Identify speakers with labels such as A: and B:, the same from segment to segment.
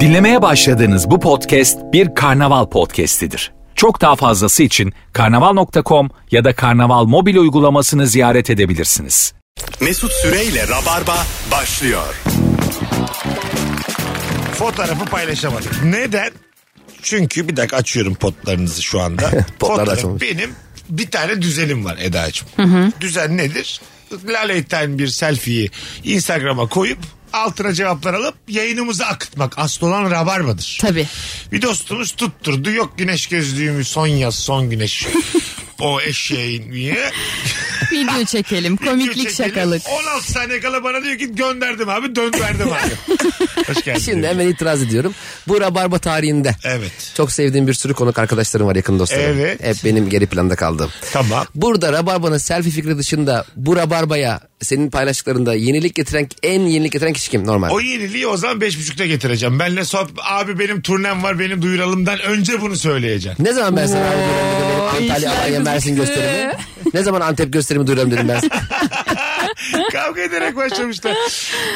A: Dinlemeye başladığınız bu podcast bir karnaval podcastidir. Çok daha fazlası için karnaval.com ya da karnaval mobil uygulamasını ziyaret edebilirsiniz.
B: Mesut Süreyle Rabarba başlıyor.
C: Fotoğrafı paylaşamadık. Neden? Çünkü bir dakika açıyorum potlarınızı şu anda.
D: Potlar da
C: Fotoğraf
D: açılmış.
C: benim bir tane düzenim var Eda'cığım. Düzen nedir? Laleyten bir selfie'yi Instagram'a koyup altına cevaplar alıp yayınımızı akıtmak. Asıl olan rabarbadır.
E: Tabii.
C: Bir dostumuz tutturdu. Yok güneş gözlüğümü son yaz son güneş. o eşeğin niye?
E: Video çekelim. Komiklik
C: Çekelim. Oh.
E: şakalık.
C: 16 saniye kala bana diyor ki gönderdim abi döndürdüm abi. Hoş geldin.
D: Şimdi hemen itiraz ediyorum. Bu Rabarba tarihinde.
C: Evet.
D: Çok sevdiğim bir sürü konuk arkadaşlarım var yakın dostlarım.
C: Evet.
D: Hep benim geri planda kaldığım.
C: Tamam.
D: Burada Rabarba'nın selfie fikri dışında bu Rabarba'ya senin paylaştıklarında yenilik getiren en yenilik getiren kişi kim normal?
C: O yeniliği o zaman 5.30'da getireceğim. Benle sohbet abi benim turnem var benim duyuralımdan önce bunu söyleyeceğim.
D: Ne zaman ben sana abi dedim, benim Antalya,
E: işler
D: Alanya, Mersin
E: kızıştı.
D: gösterimi? ne zaman Antep gösterimi duyuyorum dedim ben. sana.
C: Kavga ederek başlamışlar.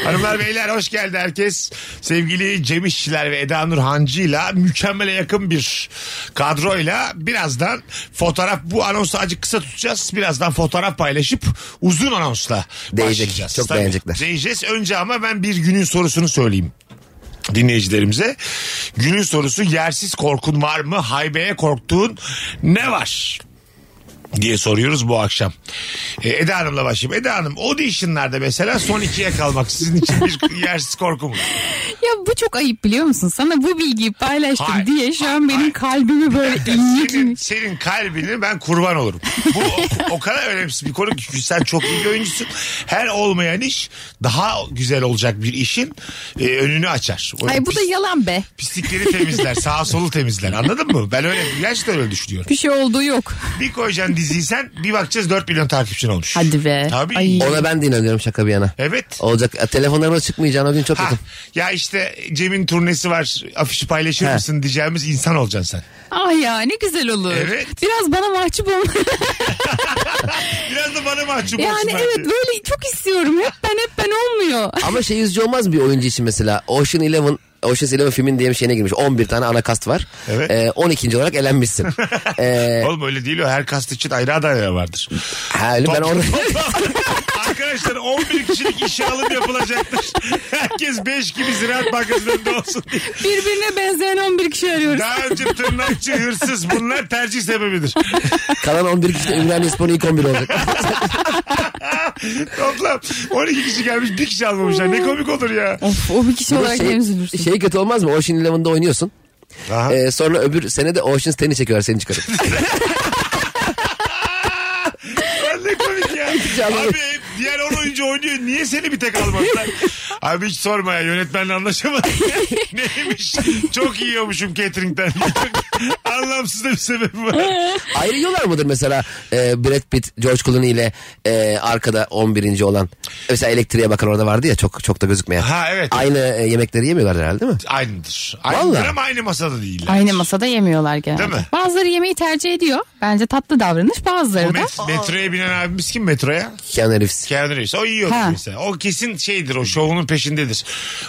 C: Hanımlar beyler hoş geldi herkes. Sevgili Cem İşçiler ve Eda Nur Hancı'yla mükemmele yakın bir kadroyla birazdan fotoğraf bu anonsu azıcık kısa tutacağız. Birazdan fotoğraf paylaşıp uzun anonsla
D: Değecek,
C: başlayacağız.
D: çok beğenecekler.
C: Değeceğiz. Önce ama ben bir günün sorusunu söyleyeyim. dinleyicilerimize. Günün sorusu yersiz korkun var mı? Haybeye korktuğun ne var? diye soruyoruz bu akşam. Ee, Eda Hanım'la başlayayım. Eda Hanım auditionlarda mesela son ikiye kalmak sizin için bir yersiz korku mu?
E: Ya bu çok ayıp biliyor musun? Sana bu bilgiyi paylaştım
C: Hayır.
E: diye şu an benim
C: Hayır.
E: kalbimi böyle
C: Senin,
E: inletmiş.
C: senin kalbini ben kurban olurum. Bu o, o kadar önemsiz bir konu ki çünkü sen çok iyi bir oyuncusun. Her olmayan iş daha güzel olacak bir işin e, önünü açar. O
E: Ay bu da
C: pis-
E: yalan be.
C: pislikleri temizler, sağa solu temizler. Anladın mı? Ben öyle gerçekten öyle düşünüyorum.
E: Bir şey olduğu yok.
C: Bir koyacaksın diziyi sen bir bakacağız 4 milyon takipçin olmuş.
E: Hadi be.
C: Tabii.
E: Ay.
D: Ona ben de inanıyorum şaka bir yana.
C: Evet.
D: Olacak e, telefonlarıma çıkmayacağın o gün çok
C: Ha,
D: yakın.
C: ya işte Cem'in turnesi var afişi paylaşır
D: Ha.
C: mısın diyeceğimiz insan olacaksın sen.
E: Ah ya ne güzel olur.
C: Evet.
E: Biraz bana mahcup olma.
C: Biraz da bana mahcup olsun
E: yani
C: bence.
E: evet böyle çok istiyorum. Hep ben hep ben olmuyor.
D: Ama şey üzücü olmaz mı bir oyuncu için mesela? Ocean Eleven Ocean's Eleven filmin diye bir şeyine girmiş. 11 tane ana kast var.
C: Evet.
D: Ee, 12. olarak elenmişsin. ee,
C: Oğlum öyle değil o her kast için ayrı adaylar vardır.
D: ha, öyle ben
C: Top-
D: orada...
C: Arkadaşlar 11 kişilik işe alım yapılacaktır. Herkes 5 gibi ziraat bankasının önünde olsun diye.
E: Birbirine benzeyen 11 kişi arıyoruz.
C: Daha önce tırnakçı hırsız bunlar tercih sebebidir.
D: Kalan 11 kişi de Ümraniye Spor'un ilk 11 olacak.
C: Toplam 12 kişi gelmiş bir kişi almamışlar. Ne komik olur ya.
E: Of o bir kişi
D: Bu
E: olarak şey, üzülürsün.
D: şey kötü olmaz mı? Ocean Eleven'da oynuyorsun.
C: Aha.
D: Ee, sonra öbür sene de Ocean's Ten'i çekiyorlar seni çıkarıp.
C: Lan ne komik ya.
D: Canım.
C: Abi diğer 10 oyuncu oynuyor. Niye seni bir tek almadılar? Abi hiç sorma ya yönetmenle anlaşamadım. Neymiş? Çok yiyormuşum catering'den. Anlamsız da bir sebebi var.
D: Ayrılıyorlar mıdır mesela e, Brad Pitt, George Clooney ile e, arkada 11. olan? Mesela elektriğe bakan orada vardı ya çok çok da gözükmeyen.
C: Ha, evet.
D: Aynı e, yemekleri yemiyorlar herhalde değil mi?
C: Aynıdır. Aynıdır
D: Vallahi.
C: ama aynı masada değiller.
E: Aynı masada yemiyorlar genelde.
C: Değil mi?
E: Bazıları yemeği tercih ediyor. Bence tatlı davranış
C: O
E: bazıları da.
C: met- metroya binen abimiz kim metroya?
D: Keanu Reeves.
C: Keanu Reeves. O yiyor
E: Ha.
C: mesela. O kesin şeydir o şovunun peşindedir.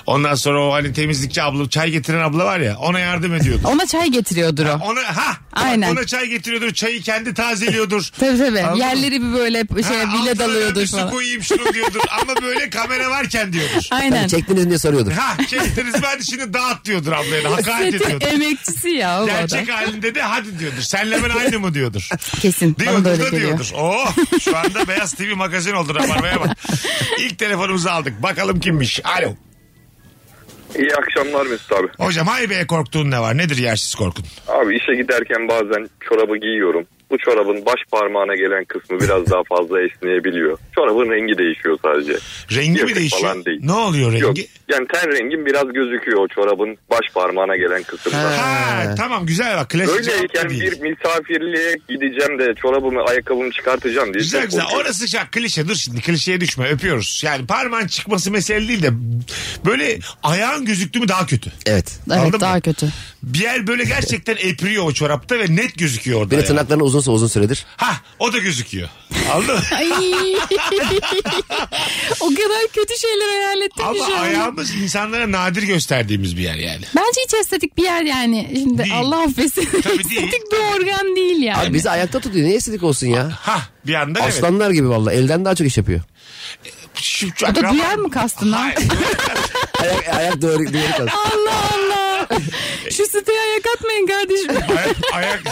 C: Ondan sonra o hani temizlikçi abla çay getiren abla var ya ona yardım ediyordu.
E: Ona çay getiriyordur o.
C: Ona ha
E: Aynen.
C: ona çay getiriyordur çayı kendi tazeliyordur.
E: Tabii tabii.
C: Anladın mı?
E: Yerleri bir böyle şey
C: Ha,
E: bile
C: altına
E: dalıyordur
C: bir Su
E: falan.
C: koyayım şunu diyordur ama böyle kamera varken diyordur.
D: Yani
E: Aynen.
D: Hani çektiniz mi diye soruyordur.
C: Ha çektiniz ben de şimdi dağıt diyordur ablaya da, hakaret
E: Setin
C: ediyordur.
E: emekçisi ya o adam.
C: Gerçek halinde de hadi diyordur. Senle ben aynı mı diyordur.
E: Kesin. Bana da
C: Diyordur
E: öyle
C: da
E: geliyor.
C: diyordur. Oo, şu anda Beyaz TV magazin oldu Rabarba'ya bak. İlk telefonumuzu aldık. Bakalım kimmiş. Alo.
F: İyi akşamlar Mesut abi.
C: Hocam haybeye korktuğun ne var? Nedir yersiz korkun?
F: Abi işe giderken bazen çorabı giyiyorum. Bu çorabın baş parmağına gelen kısmı biraz daha fazla esneyebiliyor. Çorabın rengi değişiyor sadece.
C: Rengi mi
F: Yakıt
C: değişiyor?
F: falan değil.
C: Ne oluyor rengi?
F: Yok yani ten rengim biraz gözüküyor o çorabın baş parmağına gelen kısmından.
C: Ha, tamam güzel bak. Klasik cevap da
F: Öyleyken
C: değil.
F: bir misafirliğe gideceğim de çorabımı ayakkabımı çıkartacağım diye.
C: Güzel
F: çok
C: güzel.
F: korkuyorum.
C: Orası şak klişe. Dur şimdi klişeye düşme. Öpüyoruz. Yani parmağın çıkması mesele değil de böyle ayağın gözüktü mü daha kötü.
D: Evet.
E: Evet
C: Anladın mı?
E: daha kötü.
C: Bir yer böyle gerçekten epriyor o çorapta ve net gözüküyor orada.
D: Bir de
C: yani.
D: tırnaklarını uzun uzunsa uzun süredir.
C: Ha o da gözüküyor. Anladın mı?
E: Ay. o kadar kötü şeyler hayal ettim ki
C: Ama
E: şu an.
C: ayağımız insanlara nadir gösterdiğimiz bir yer yani.
E: Bence hiç estetik bir yer yani. Şimdi
C: Değil.
E: Allah affetsin.
C: Tabii
E: estetik
C: değil.
E: bir organ değil yani.
D: Abi bizi ayakta tutuyor. Niye estetik olsun ya?
C: Ha bir anda evet.
D: Aslanlar gibi valla. Elden daha çok iş yapıyor.
C: Şu,
E: Bu da duyar mı kastın ha?
C: Hayır.
D: Ayak, ayak doğru, doğru kalır.
E: Allah Allah. Şu siteye ayak atmayın kardeşim.
C: Ayak, ayak-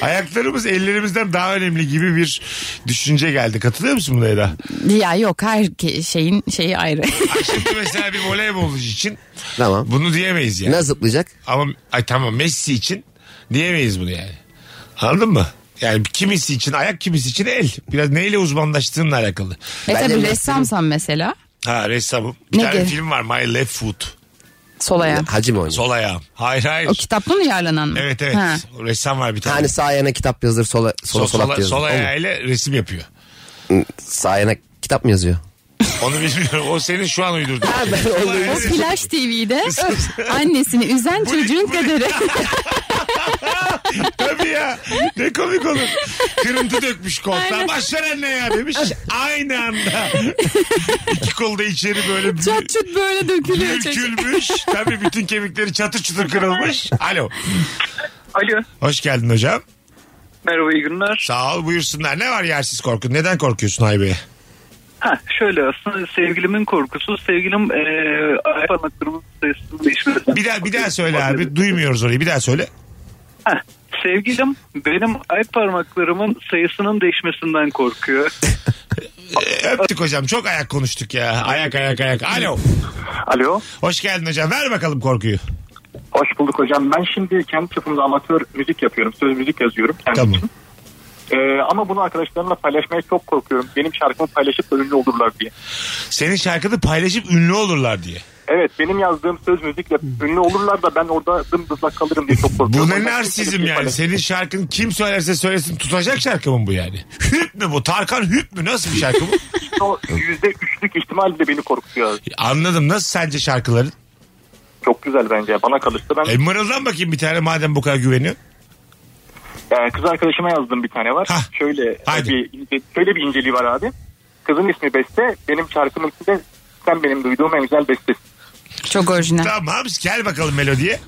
C: Ayaklarımız ellerimizden daha önemli gibi bir düşünce geldi. Katılıyor musun buna Eda?
E: ya yok her ke- şeyin şeyi ayrı.
C: Şimdi mesela bir voleybolcu için
D: Tamam.
C: bunu diyemeyiz yani.
D: Ne zıplayacak?
C: Ama ay tamam Messi için diyemeyiz bunu yani. Anladın mı? Yani kimisi için ayak kimisi için el. Biraz neyle uzmanlaştığınla alakalı.
E: e
D: Bence
E: tabi
D: mesleğim-
E: ressamsan mesela.
C: Ha ressamım. Bir
E: Ne
C: tane
E: gibi?
C: film var My Left Foot.
E: Sol ayağın.
D: Hacı mı oynuyor?
C: Sol ayağım. Hayır hayır.
E: O kitaptan uyarlanan mı?
C: Evet evet.
E: Ha.
C: O Ressam var bir tane.
D: Yani Hani sağ ayağına kitap yazılır, sola, sola
C: sol,
D: solak
C: sol,
D: yazılır.
C: sol
D: Olur mu?
C: ayağıyla resim yapıyor.
D: Sağ ayağına kitap mı yazıyor?
C: Onu bilmiyorum. O senin şu an uydurduğun.
D: Ha, ben onu
C: Sol ayağıyla
E: O
C: resim-
E: Flash TV'de annesini üzen çocuğun kaderi.
C: Tabii ya. Ne komik olur. Kırıntı dökmüş koltuğa.
E: Aynen.
C: Başlar anne ya demiş. Aynı anda. İki kolda içeri böyle bir-
E: Çat çut böyle dökülüyor çocuk.
C: Ürkülmüş. Tabii bütün kemikleri çatır çutur kırılmış. Alo.
G: Alo.
C: Hoş geldin hocam.
G: Merhaba iyi günler.
C: Sağ ol buyursunlar. Ne var yersiz korkun? Neden korkuyorsun Haybe'ye?
G: Ha, şöyle aslında sevgilimin korkusu. Sevgilim e, ay parmaklarımın sayısını değişmeden.
C: Bir daha, bir daha söyle abi. Duymuyoruz orayı. Bir daha söyle.
G: Ha, sevgilim benim ay parmaklarımın sayısının değişmesinden korkuyor.
C: Ee, öptük hocam. Çok ayak konuştuk ya. Ayak ayak ayak. Alo.
H: Alo.
C: Hoş geldin hocam. Ver bakalım korkuyu.
H: Hoş bulduk hocam. Ben şimdi kendi çapımda amatör müzik yapıyorum. Söz müzik yazıyorum. Kendim
C: Tamam.
H: için. Ee, ama bunu arkadaşlarımla paylaşmaya çok korkuyorum. Benim şarkımı paylaşıp da ünlü olurlar diye.
C: Senin şarkını paylaşıp ünlü olurlar diye.
H: Evet benim yazdığım söz müzikle ünlü olurlar da ben orada dımdızlak kalırım diye çok
C: Bu
H: korkuyorum.
C: ne
H: Ondan
C: narsizm
H: kimseyle
C: yani?
H: paylaşmam.
C: Senin şarkın kim söylerse söylesin tutacak şarkı mı bu yani? Hüp mü bu? Tarkan hüp mü? Nasıl bir şarkı bu?
H: O yüzde üçlük ihtimal de beni korkutuyor.
C: Anladım. Nasıl sence şarkıların?
H: Çok güzel bence. Bana kalırsa ben
C: E mırıldan bakayım bir tane madem bu kadar güveniyor.
H: Ee, kız arkadaşıma yazdığım bir tane var.
C: Hah.
H: Şöyle
C: Haydi.
H: bir ince- şöyle bir inceliği var abi. Kızın ismi Beste, benim şarkımın içinde sen benim duyduğum en güzel bestesin.
E: Çok orijinal.
C: Tamam gel bakalım melodiye.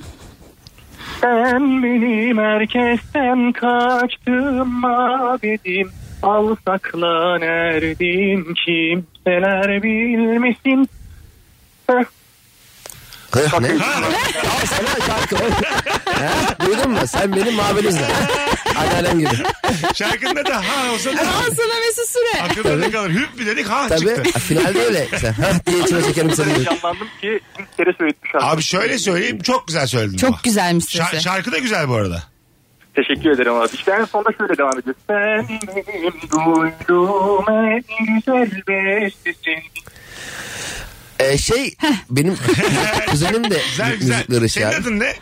H: Sen benim herkesten kaçtım mabedim. Al sakla neredeyim kimseler bilmesin. Heh,
D: Hı, ne?
C: Ha,
D: Al sana şarkı. Ha, Duydun mu? Sen benim mabelinizle. Anneannem gibi.
C: şarkında da ha olsa da
E: Al sana Mesut Süre.
C: akılda ne kalır. Hüp mü dedik ha
D: Tabii.
C: çıktı. şey.
D: Ha, Finalde öyle. Sen, ha, diye içime çekerim seni. diyor.
H: Heyecanlandım ki ilk kere söyledim şarkı.
C: Abi şöyle söyleyeyim çok güzel söyledin. ama.
E: Çok güzelmiş sesi.
C: Şa- şarkı da güzel bu arada.
H: Teşekkür ederim abi. İşte en sonunda şöyle devam edeceğiz. Sen benim duyduğum en güzel bestesin.
D: Ee, şey benim kuzenim de
C: Güzel güzel.
D: müzikleri şey.
C: Senin adın ne?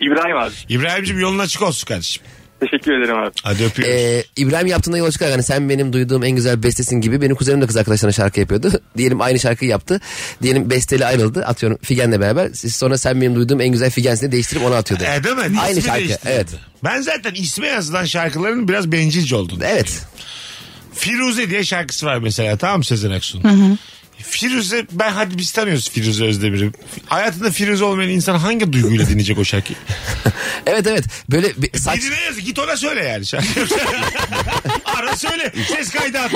H: İbrahim abi.
C: İbrahim'cim yolun açık olsun kardeşim.
H: Teşekkür ederim abi.
C: Hadi öpüyoruz.
D: Ee, İbrahim yaptığında yola çıkar. Yani sen benim duyduğum en güzel bestesin gibi benim kuzenim de kız arkadaşlarına şarkı yapıyordu. diyelim aynı şarkıyı yaptı. Diyelim besteli ayrıldı. Atıyorum Figen'le beraber. Siz sonra sen benim duyduğum en güzel Figen'sini değiştirip onu atıyordu.
C: E, değil mi?
D: Aynı
C: İsmi
D: şarkı,
C: değiştirildi.
D: evet.
C: Ben zaten isme yazılan şarkıların biraz bencilce olduğunu.
D: Evet.
C: Firuze diye şarkısı var mesela tamam mı Sezen Aksu'nun? Firuze ben hadi biz tanıyoruz Firuze Özdemir'i. Hayatında Firuze olmayan insan hangi duyguyla dinleyecek o şarkıyı?
D: Evet evet. Böyle bir saç...
C: Birine yazık git ona söyle yani şarkı. Ara söyle ses kaydı at.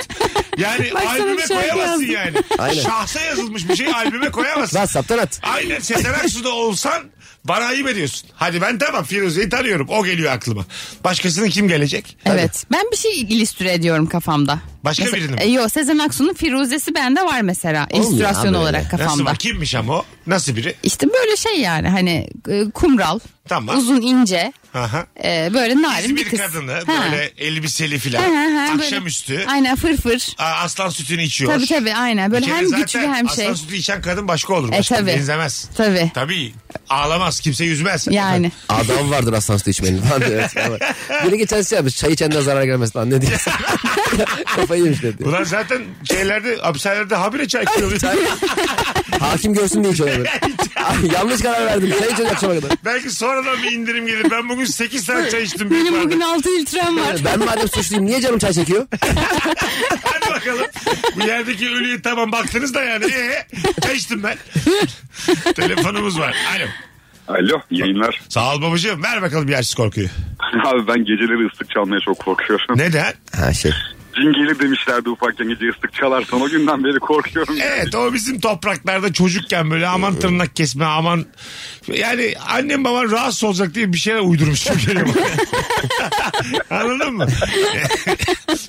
C: Yani
E: Bak sana
C: albüme
E: bir şarkı
C: koyamazsın
E: yazdım.
C: yani.
D: Aynen.
C: Şahsa yazılmış bir şey albüme koyamazsın.
D: WhatsApp'tan at.
C: Aynen Sezen Aksu'da olsan bana ayıp ediyorsun. Hadi ben tamam Firuze'yi tanıyorum. O geliyor aklıma. Başkasının kim gelecek?
E: Evet. Ben bir şey illüstre ediyorum kafamda.
C: Başka
E: Mesela-
C: birini mi?
E: E, yok Sezen Aksu'nun Firuzesi bende var mesela.
D: Olmuyor abi
E: illüstrasyon
D: öyle.
E: olarak
C: Nasıl
E: kafamda.
C: var? Kimmiş ama o? Nasıl biri?
E: İşte böyle şey yani hani e, kumral,
C: Tamam.
E: uzun ince,
C: Aha.
E: e, böyle narin bir
C: İzmir
E: kız.
C: kadını
E: Ha.
C: böyle elbiseli filan.
E: Ha, ha, ha, böyle-
C: Akşamüstü.
E: Aynen fırfır.
C: Aa, Aslan sütünü içiyor.
E: Tabii tabii aynen
C: Bir
E: böyle
C: kere
E: hem
C: zaten
E: güçlü hem şey.
C: Aslan sütü içen kadın başka olur.
E: E,
C: Başka
E: tabii.
C: benzemez.
E: Tabii.
C: Tabii. Ağlamaz. Kimse yüzmez.
E: Yani.
D: Adam vardır aslan sütü içmenin falan diyor. Evet, ama Biri geçen şey yapmış. Çay içenden zarar gelmez lan ne diyorsun? Kafayı yemiş dedi.
C: Ulan zaten şeylerde hapishanelerde habire çay koyuyor.
D: Hakim görsün diye içiyor. Ay, Yanlış karar verdim. Çay içiyor akşama kadar.
C: Belki sonradan bir indirim gelir. Ben bugün bugün 8 saat çay içtim. büyük
E: Benim
C: bardak.
E: bugün 6 litrem var.
D: Ee, Ben madem suçluyum niye canım çay çekiyor?
C: Hadi bakalım. Bu yerdeki ölüye tamam baktınız da yani. Ee, çay içtim ben. Telefonumuz var. Alo.
I: Alo yayınlar.
C: Sağ ol babacığım. Ver bakalım yersiz korkuyu.
I: Abi ben geceleri ıslık çalmaya çok korkuyorum.
C: Neden?
D: Ha şey.
I: Cin gelir demişlerdi ufakken gece ıslık çalarsan o günden beri korkuyorum.
C: Evet o bizim topraklarda çocukken böyle aman tırnak kesme aman. Yani annem babam rahatsız olacak diye bir şeyler uydurmuş çok geliyor bana. Anladın mı?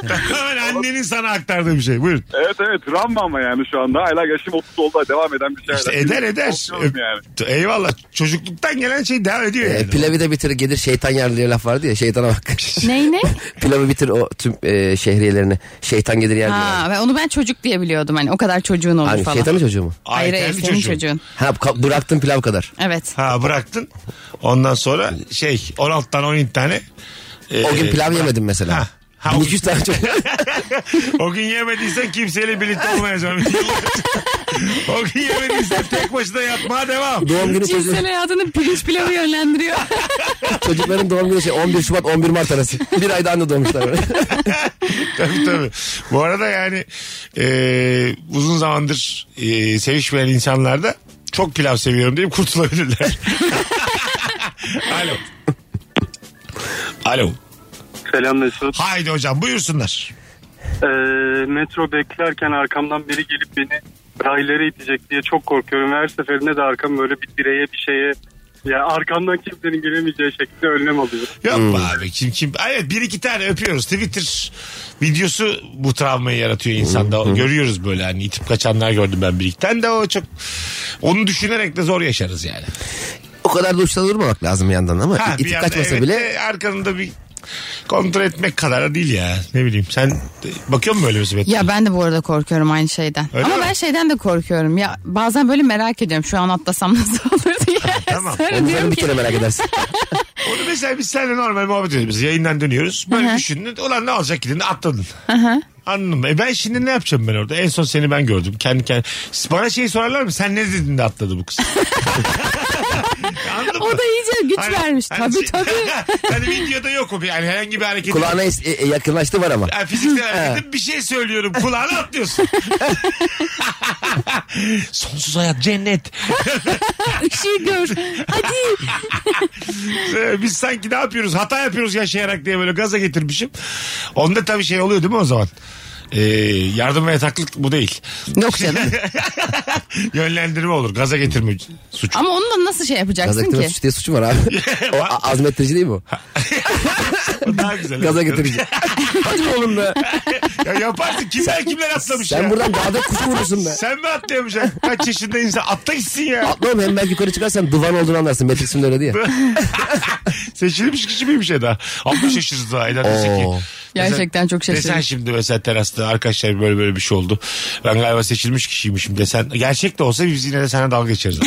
C: Tamamen annenin sana aktardığı bir şey. Buyurun.
I: Evet evet travma ama yani şu anda hala yaşım 30 oldu devam eden bir şeyler.
C: İşte eder eder.
I: Korkuyorum yani.
C: Eyvallah. Çocukluktan gelen şey devam ediyor.
D: E,
C: yani.
D: pilavı da bitir gelir şeytan yer diye laf vardı ya şeytana bak.
E: Ney ne?
D: pilavı bitir o tüm e, şehriyelerini. Şeytan gelir yer diye.
E: Ha, ben onu ben çocuk diye biliyordum. Hani o kadar çocuğun olur
D: Hani
E: falan.
D: şeytanın çocuğu mu?
C: Ay,
E: Hayır
C: kendi
E: hayır senin
C: çocuğun.
E: çocuğun.
D: Ha ka- bıraktın pilav kadar.
E: Evet.
C: Ha bıraktın. Ondan sonra şey 16 tane 17 tane. Ee,
D: O gün pilav yemedim
C: Ha.
D: mesela.
C: Ha, o
D: 1200 tane çocuk.
C: O gün yemediysen kimseyle birlikte olmayacağım. o gün yemediysen tek başına yatmaya devam.
D: doğum günü çocuğu,
E: Cinsel hayatını pirinç pilavı yönlendiriyor.
D: çocukların doğum günü şey 11 Şubat 11 Mart arası. Bir ayda anne doğmuşlar. böyle.
C: tabii tabii. Bu arada yani e, uzun zamandır e, sevişmeyen insanlarda çok pilav seviyorum deyip kurtulabilirler. Alo. Alo.
G: Selam Mesut.
C: Haydi hocam buyursunlar.
G: Ee, metro beklerken arkamdan biri gelip beni sahillere itecek diye çok korkuyorum. Her seferinde de arkam böyle bir direğe bir şeye yani arkamdan kimsenin gelemeyeceği şekilde önlem alıyorum.
C: Yok be abi kim kim. Ay, Evet bir iki tane öpüyoruz. Twitter videosu bu travmayı yaratıyor insanda. Görüyoruz böyle hani itip kaçanlar gördüm ben bir iki tane de o çok. Onu düşünerek de zor yaşarız yani.
D: o kadar da uçta durmamak lazım bir yandan ama
C: Ha, bir
D: itip
C: yandan
D: kaçmasa
C: evet Ee,
D: bile
C: de arkanında bir kontrol etmek kadar da değil ya. Ne bileyim sen de- bakıyor musun böyle müsibet?
E: Ya ben de bu arada korkuyorum aynı şeyden.
C: Öyle
E: Ama
C: mi?
E: ben şeyden de korkuyorum. Ya bazen böyle merak ediyorum şu an atlasam nasıl olur diye.
C: Tamam.
E: Sonra
D: onu
E: diyorum
D: sen bir
E: ki-
D: kere merak edersin.
C: Onu mesela biz seninle normal muhabbet ediyoruz. Biz yayından dönüyoruz. Böyle düşündün. Ulan ne olacak gidin atladın. Anladın mı? E ben şimdi ne yapacağım ben orada? En son seni ben gördüm. Kendi kendi. Bana şey sorarlar mı? Sen ne dedin de atladı bu kız? Anladın mı?
E: O da iyice güç
C: Hani-
E: vermiş.
C: hani
E: tabii
C: şey-
E: tabii.
C: hani videoda yok o bir. Yani herhangi bir hareket.
D: Kulağına es- e- e, yakınlaştı var ama.
C: Yani fiziksel hareketim bir şey söylüyorum. Kulağına atlıyorsun. Sonsuz hayat cennet.
E: Işığı gör. Hadi.
C: Ee, Biz sanki ne yapıyoruz? Hata yapıyoruz yaşayarak diye böyle gaza getirmişim. Onda tabii şey oluyor değil mi o zaman? Ee, yardım ve yataklık bu değil.
E: Yok canım.
C: Yönlendirme olur. Gaza getirme suç.
E: Ama onu da nasıl şey yapacaksın
D: Gazeteme
E: ki?
D: suç diye suçum var abi. o a- azmettirici değil mi o?
C: O Daha güzel.
D: Gaza getirici. Hadi be oğlum be.
C: Ya yaparsın. Kimler kimler atlamış
D: Sen
C: ya.
D: buradan dağda kuş vurursun be.
C: Sen mi atlayamayacaksın? Kaç yaşında insan? Atla gitsin ya.
D: Atla oğlum hem belki yukarı çıkarsan duvan olduğunu anlarsın. Matrix'in öyle diye.
C: Seçilmiş kişi miymiş Eda? 60 yaşınız daha. Eda dese ki.
D: Oo.
E: Gerçekten çok şaşırdım.
C: Desen şimdi mesela terasta arkadaşlar böyle böyle bir şey oldu. Ben galiba seçilmiş kişiymişim desen. Gerçek de olsa biz yine de sana dalga geçeriz.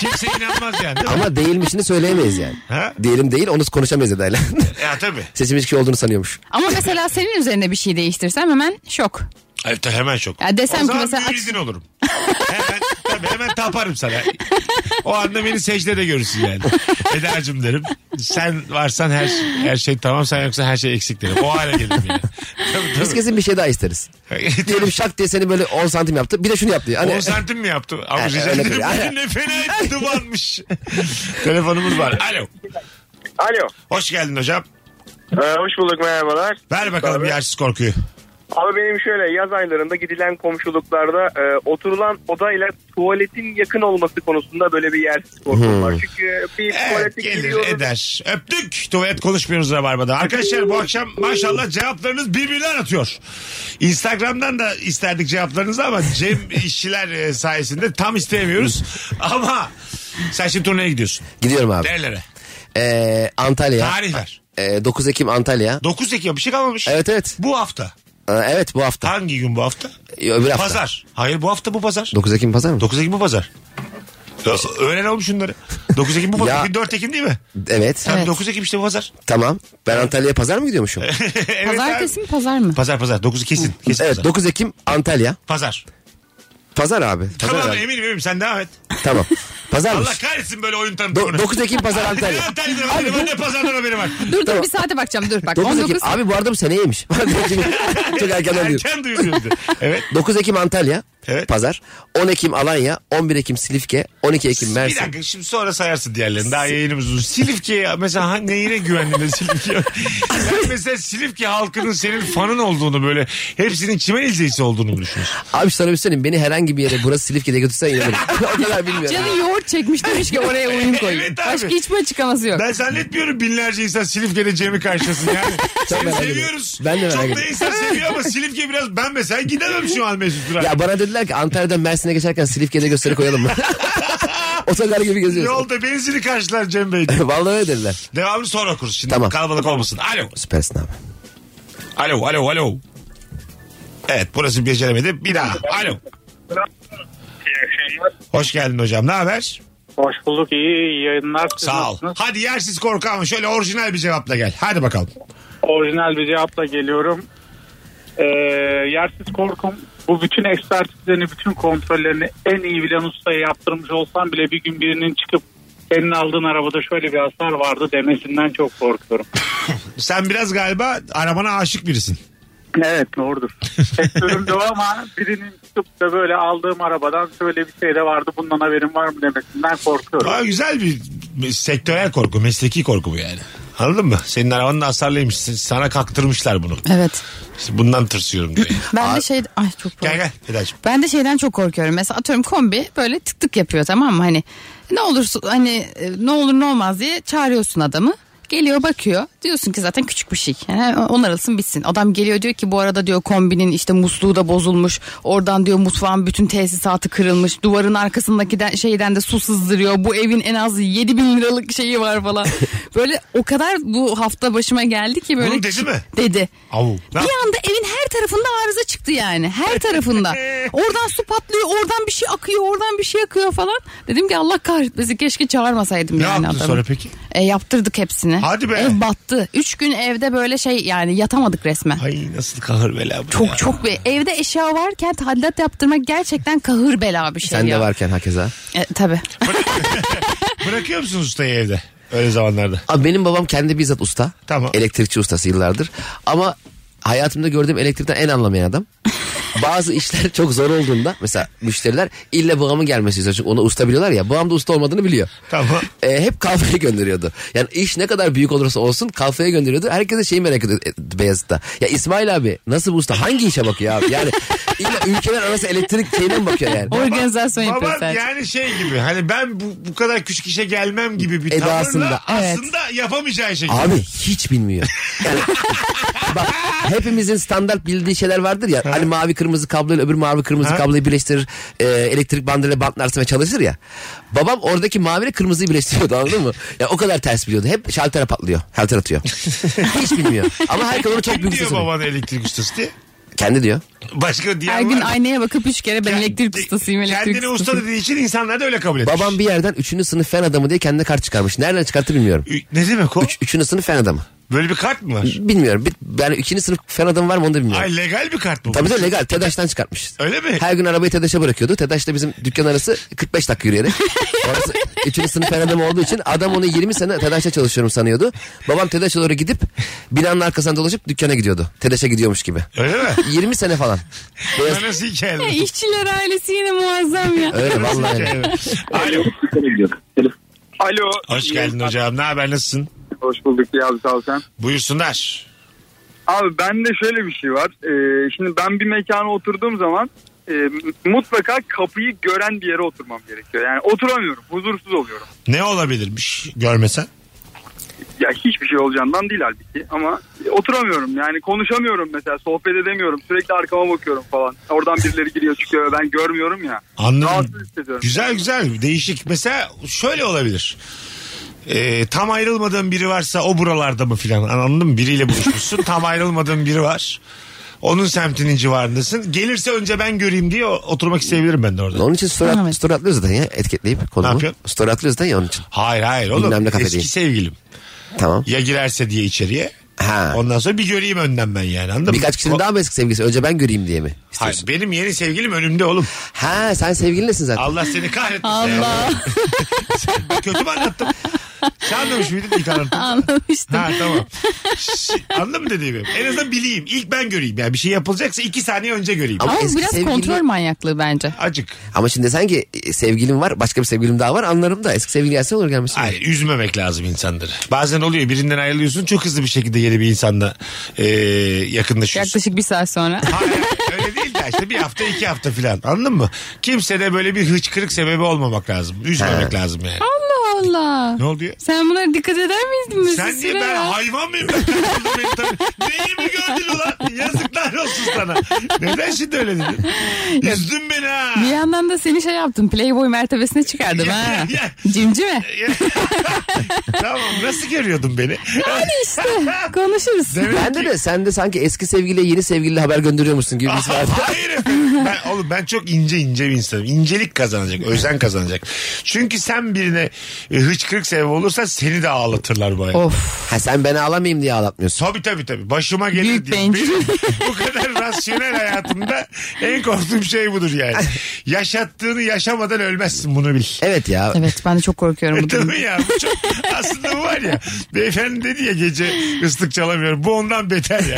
C: Kimse inanmaz yani değil mi?
D: Ama değilmişini söyleyemeyiz yani.
C: Ha?
D: Diyelim değil onu konuşamayız Eda'yla.
C: Ya tabii.
D: Seçilmiş kişi olduğunu sanıyormuş.
E: Ama mesela senin üzerine bir şey değiştirsem hemen şok.
C: Ay, ta- hemen şok.
E: Ya desem
C: o
E: ki
C: zaman
E: mesela-
C: müezzin olurum. hemen, tabii hemen taparım sana. O anda beni secdede görürsün yani. Eda'cığım derim. Sen varsan her, her şey tamam sen yoksa her şey eksik derim. O hale gelirim yani. Tabii,
D: Biz
C: tabii.
D: kesin bir şey daha isteriz. Diyelim şak diye seni böyle 10 santim yaptı. Bir de şunu yaptı. Hani,
C: 10 santim mi yaptı? Abi
D: Ha,
C: rica
D: öyle
C: ederim.
D: bir- Hani-
C: Bugün ne fena dumanmış. Telefonumuz var. Alo.
I: Alo. Ee,
C: Hoş geldin hocam.
I: hoş bulduk merhabalar.
C: Ver bakalım
I: Abi.
C: yersiz korkuyu.
I: Abi benim şöyle yaz aylarında gidilen komşuluklarda e, oturulan odayla tuvaletin yakın olması konusunda böyle bir yersiz korkum var. Çünkü bir
C: Evet
I: tuvalete
C: gelir
I: giriyoruz.
C: eder. Öptük. Tuvalet konuşmuyoruz Rabarba'da. Arkadaşlar bu akşam maşallah cevaplarınız birbirine atıyor. Instagram'dan da isterdik cevaplarınızı ama Cem işçiler e, sayesinde tam isteyemiyoruz. ama sen şimdi turneye gidiyorsun.
D: gidiyorum abi.
C: Nerelere?
D: Ee, Antalya.
C: Tarih ver.
D: Ee, 9 Ekim Antalya.
C: 9 Ekim bir şey kalmamış.
D: Evet evet.
C: Bu hafta.
D: Ee, evet bu hafta.
C: Hangi gün bu hafta?
D: Öbür hafta.
C: Pazar. Hayır bu hafta bu pazar.
D: 9 Ekim pazar mı?
C: 9 Ekim bu pazar. Ö- Öğren oğlum şunları. 9 Ekim bu pazar.
D: Ya-
C: Bugün 4 Ekim değil mi?
D: evet.
C: Tam
E: Evet.
C: 9 Ekim işte bu pazar.
D: Tamam. Ben Antalya'ya pazar mı gidiyormuşum?
C: E, evet,
E: Pazartesi
C: abi.
E: mi pazar mı?
C: Pazar pazar. 9 kesin. kesin
D: evet
C: pazar.
D: 9 Ekim Antalya.
C: Pazar.
D: Pazar abi. Pazar
C: Tamam
D: abi.
C: eminim eminim sen devam et.
D: Tamam. Pazarmış.
C: Allah kahretsin böyle oyun tanıtımını.
D: Do- 9 Ekim Pazar
C: Ne
D: Antalya.
C: Antalya'dan haberi var ne pazardan haberi var.
E: Dur dur
D: Tamam.
E: bir saate bakacağım dur bak.
D: 9 Ekim.
E: 19.
D: Abi bu arada bu seneymiş. Çok erken alıyorum.
C: Erken duyuruyordu. Evet.
D: 9 Ekim Antalya.
C: Evet.
D: Pazar. 10 Ekim Alanya. 11 Ekim Silifke. 12 Ekim
C: Bir
D: Mersin.
C: dakika şimdi sonra sayarsın diğerlerini. Daha yayınımız uzun. Silifke'ye mesela ha- neyine güvendin de Silifke'ye? ben mesela Silifke halkının senin fanın olduğunu böyle hepsinin çimen izleyicisi olduğunu mu düşünüyorsun?
D: Abi sana bir şey söyleyeyim. Beni herhangi bir yere burası Silifke'de götürsen inanırım. o kadar bilmiyorum.
E: Canı yoğurt çekmiş demiş ki oraya oyun koy.
C: Evet abi.
E: Başka hiçbir açıklaması yok.
C: Ben zannetmiyorum binlerce insan Silifke'de Cem'i karşılasın yani. Seni
D: merak
C: seviyoruz.
D: ediyorum. Ben de merak
C: Çok da
D: ediyorum.
C: insan seviyor ama Silifke biraz ben mesela gidemem şu an Mesut Duran.
D: Ya bana dediler ki Antalya'dan Mersin'e geçerken Silifke'de gösteri koyalım mı? Otogar gibi geziyoruz.
C: Yolda benzini karşılar Cem Bey.
D: Vallahi öyle dediler.
C: Devamını sonra okuruz şimdi
D: Tamam.
C: kalabalık olmasın. Alo.
D: Süpersin abi.
C: Alo alo alo. Evet burası beceremedi. Bir daha. Alo. Hoş geldin hocam. Ne haber?
G: Hoş bulduk iyi yayınlar.
C: Sağ ol. Hadi yersiz korku ama şöyle orijinal bir cevapla gel. Hadi bakalım.
G: orijinal bir cevapla geliyorum. Ee, yersiz korkum bu bütün ekspertizlerini, bütün kontrollerini en iyi bilen ustaya yaptırmış olsam bile bir gün birinin çıkıp senin aldığın arabada şöyle bir hasar vardı demesinden çok korkuyorum.
C: Sen biraz galiba arabana aşık birisin.
G: Evet doğrudur. Sektörüm de o ama birinin çıkıp da böyle aldığım arabadan şöyle bir şey de vardı bundan haberin var mı demesinden korkuyorum.
C: Aa, güzel bir sektörel korku, mesleki korku bu yani. Anladın mı? Senin arabanın hasarlıymış. Sana kaktırmışlar bunu.
E: Evet.
C: İşte bundan tırsıyorum diye.
E: Ben de şey ay çok
C: gel
E: pardon.
C: gel Fedacığım.
E: Ben de şeyden çok korkuyorum. Mesela atıyorum kombi böyle tık tık yapıyor tamam mı? Hani ne olursun hani e, ne olur ne olmaz diye çağırıyorsun adamı. Geliyor bakıyor. Diyorsun ki zaten küçük bir şey. Yani onarılsın bitsin. Adam geliyor diyor ki bu arada diyor kombinin işte musluğu da bozulmuş. Oradan diyor mutfağın bütün tesisatı kırılmış. Duvarın arkasındaki de- şeyden de su sızdırıyor. Bu evin en az 7 bin liralık şeyi var falan. böyle o kadar bu hafta başıma geldi ki böyle.
C: Bunu dedi mi?
E: Dedi.
C: Au. Ne
E: Bir
C: yap-
E: anda evin her tarafında arıza çıktı yani. Her tarafında. Oradan su patlıyor, oradan bir şey akıyor, oradan bir şey akıyor falan. Dedim ki Allah kahretmesin keşke çağırmasaydım
C: Ne
E: yani
C: yaptın
E: adamı.
C: sonra peki?
E: E, yaptırdık hepsini.
C: Hadi be.
E: Ev battı. Üç gün evde böyle şey yani yatamadık resmen.
C: Ay nasıl kahır bela bu
E: Çok
C: ya.
E: çok bir evde eşya varken tadilat yaptırmak gerçekten kahır bela bir şey
D: Sen
E: ya.
D: de varken hakeza.
E: E, tabii.
C: Bırakıyor musun ustayı evde? Öyle zamanlarda.
D: Abi benim babam kendi bizzat usta.
C: Tamam.
D: Elektrikçi ustası yıllardır. Ama hayatımda gördüğüm elektrikten en anlamayan adam. Bazı işler çok zor olduğunda mesela müşteriler illa babamın gelmesi istiyor. Çünkü onu usta biliyorlar ya. Babam da usta olmadığını biliyor.
C: Tamam.
D: E, hep kafeye gönderiyordu. Yani iş ne kadar büyük olursa olsun kafeye gönderiyordu. Herkes de şeyi merak ediyordu e, Beyazıt'ta. Ya İsmail abi nasıl bu usta? Hangi işe bakıyor abi? Yani illa ülkeler arası elektrik şeyine mi bakıyor yani?
E: Organizasyon yapıyor
C: Babam
E: sadece.
C: yani şey gibi hani ben bu, bu kadar küçük işe gelmem gibi bir
D: Edasında.
C: tavırla
E: Evet.
C: aslında yapamayacağı şey.
D: Abi hiç bilmiyor. Yani, bak hepimizin standart bildiği şeyler vardır ya. Hani mavi kırmızı kabloyla öbür mavi kırmızı
C: Ha.
D: kabloyu birleştirir. e, elektrik bandıyla bantlarsın ve çalışır ya. Babam oradaki mavi ile kırmızıyı birleştiriyordu anladın mı? Ya o kadar ters biliyordu. Hep şaltere patlıyor. Şalter atıyor. hiç bilmiyor. Ama herkes onu çok
C: Kim
D: büyük
C: diyor
D: ustası.
C: baban elektrik ustası diye?
D: Kendi diyor.
C: Başka diyen
E: Her gün
C: var mı?
E: aynaya bakıp üç kere ben
C: Kendi-
E: elektrik ustasıyım elektrik
C: Kendini usta
E: ustasıyım.
C: dediği için insanlar da öyle kabul etmiş.
D: Babam bir yerden üçüncü sınıf fen adamı diye kendine kart çıkarmış. Nereden çıkarttı bilmiyorum.
C: Ü- Ne demek o?
D: Üç, üçüncü sınıf fen adamı.
C: Böyle bir kart mı var?
D: Bilmiyorum. Bir, yani ikinci sınıf fen adamı var mı onu da bilmiyorum.
C: Ay legal bir kart mı bu?
D: Tabii de legal. TEDAŞ'tan çıkartmış.
C: Öyle mi?
D: Her gün arabayı TEDAŞ'a bırakıyordu. TEDAŞ'ta bizim dükkan arası 45 dakika yürüyerek. Orası üçüncü sınıf fen adamı olduğu için adam onu 20 sene TEDAŞ'ta çalışıyorum sanıyordu. Babam TEDAŞ'a doğru gidip binanın arkasından dolaşıp dükkana gidiyordu. TEDAŞ'a gidiyormuş gibi.
C: Öyle mi?
D: 20 sene falan. Beyaz-
C: Ben nasıl
E: Ya,
C: hikayeler?
E: İşçiler E, ailesi yine muazzam ya.
D: Öyle vallahi. öyle.
C: Alo.
I: Alo.
C: Hoş geldin hocam. Ne haber nasılsın?
I: Hoş bulduk Yavuz Alsan.
C: Buyursunlar.
I: Abi bende şöyle bir şey var. Ee, şimdi ben bir mekana oturduğum zaman e, mutlaka kapıyı gören bir yere oturmam gerekiyor. Yani oturamıyorum. Huzursuz oluyorum.
C: Ne olabilirmiş görmesen?
I: Ya hiçbir şey olacağından değil halbuki ama e, oturamıyorum. Yani konuşamıyorum mesela. Sohbet edemiyorum. Sürekli arkama bakıyorum falan. Oradan birileri giriyor çıkıyor. Ben görmüyorum ya. Rahatsız
C: Anladım.
I: hissediyorum.
C: Güzel güzel değişik. Mesela şöyle olabilir. Ee, tam ayrılmadığın biri varsa o buralarda mı filan anladın mı? Biriyle buluşmuşsun. tam ayrılmadığın biri var. Onun semtinin civarındasın. Gelirse önce ben göreyim diye o- oturmak isteyebilirim ben de orada.
D: Onun için story, at-
E: Evet.
D: story atlıyoruz zaten ya etiketleyip
C: Ne
D: konumu.
C: yapıyorsun?
D: Story atlıyoruz zaten ya onun için.
C: Hayır hayır oğlum.
D: Bilmem ne
C: Eski
D: kafedeyim.
C: sevgilim.
D: Tamam.
C: Ya girerse diye içeriye.
D: Ha.
C: Ondan sonra bir göreyim önden ben yani anladın mı?
D: Birkaç kişinin
C: O-
D: daha mı eski sevgilisi? Önce ben göreyim diye mi?
C: Hayır,
D: istiyorsun?
C: benim yeni sevgilim önümde oğlum.
D: Ha sen sevgilinlesin zaten.
C: Allah seni kahretmesin.
E: Allah
C: Kötü mü anlattım? Sen anlamış mıydın ilk anlattım?
E: anlamıştım.
C: Ha tamam. Şi- Anladın mı dediğimi? En azından bileyim. İlk ben göreyim. Yani bir şey yapılacaksa iki saniye önce göreyim.
D: Ama
E: Ama
D: eski
E: biraz
D: sevgili-
E: kontrol manyaklığı bence.
C: Acık.
D: Ama şimdi sen ki e, sevgilim var başka bir sevgilim daha var anlarım da eski sevgili gelse olur gelmesin.
C: Hayır üzmemek lazım insanları. Bazen oluyor birinden ayrılıyorsun çok hızlı bir şekilde yeni bir insanla e, yakınlaşıyorsun.
E: Yaklaşık bir saat sonra.
C: Hayır öyle değil de işte bir hafta iki hafta filan anladın mı? Kimsede böyle bir hıçkırık sebebi olmamak lazım. Üzmemek lazım yani.
E: Allah Allah.
C: Ne oluyor?
E: Sen bunlara dikkat eder miydin Mesut
C: Sen niye
E: Süre
C: ben
E: ya?
C: hayvan mıyım? Ben kaçırdım beni tabii. Neyi mi gördün ulan? Yazıklar olsun sana. Neden şimdi öyle dedin? Üzdün beni ha.
E: Bir yandan da seni şey yaptım. Playboy mertebesine çıkardım
C: Ya,
E: ha.
C: ya.
E: Cimcime.
C: tamam nasıl görüyordun beni?
E: İşte konuşuruz.
D: Bende de sen de sanki eski sevgiliye yeni sevgiliyle haber gönderiyormuşsun gibi bir his vardı.
C: Hayır efendim. Ben, oğlum ben çok ince ince bir insanım. İncelik kazanacak, özen kazanacak. Çünkü sen birine e, hıçkırık sebebi olursan seni de ağlatırlar bayağı.
E: of.
D: Ha sen beni ağlamayayım diye ağlatmıyorsun.
C: Tabii tabii tabii. Başıma gelir
E: Büyük
C: diye.
E: bencil.
C: Benim bu kadar rasyonel hayatımda en korktuğum şey budur yani. Yaşattığını yaşamadan ölmezsin bunu bil.
D: Evet ya.
E: Evet ben de çok korkuyorum bu durumda.
C: Tabii ya. bu çok- aslında bu var ya. Beyefendi dedi ya gece ıslık çalamıyorum. Bu ondan beter ya.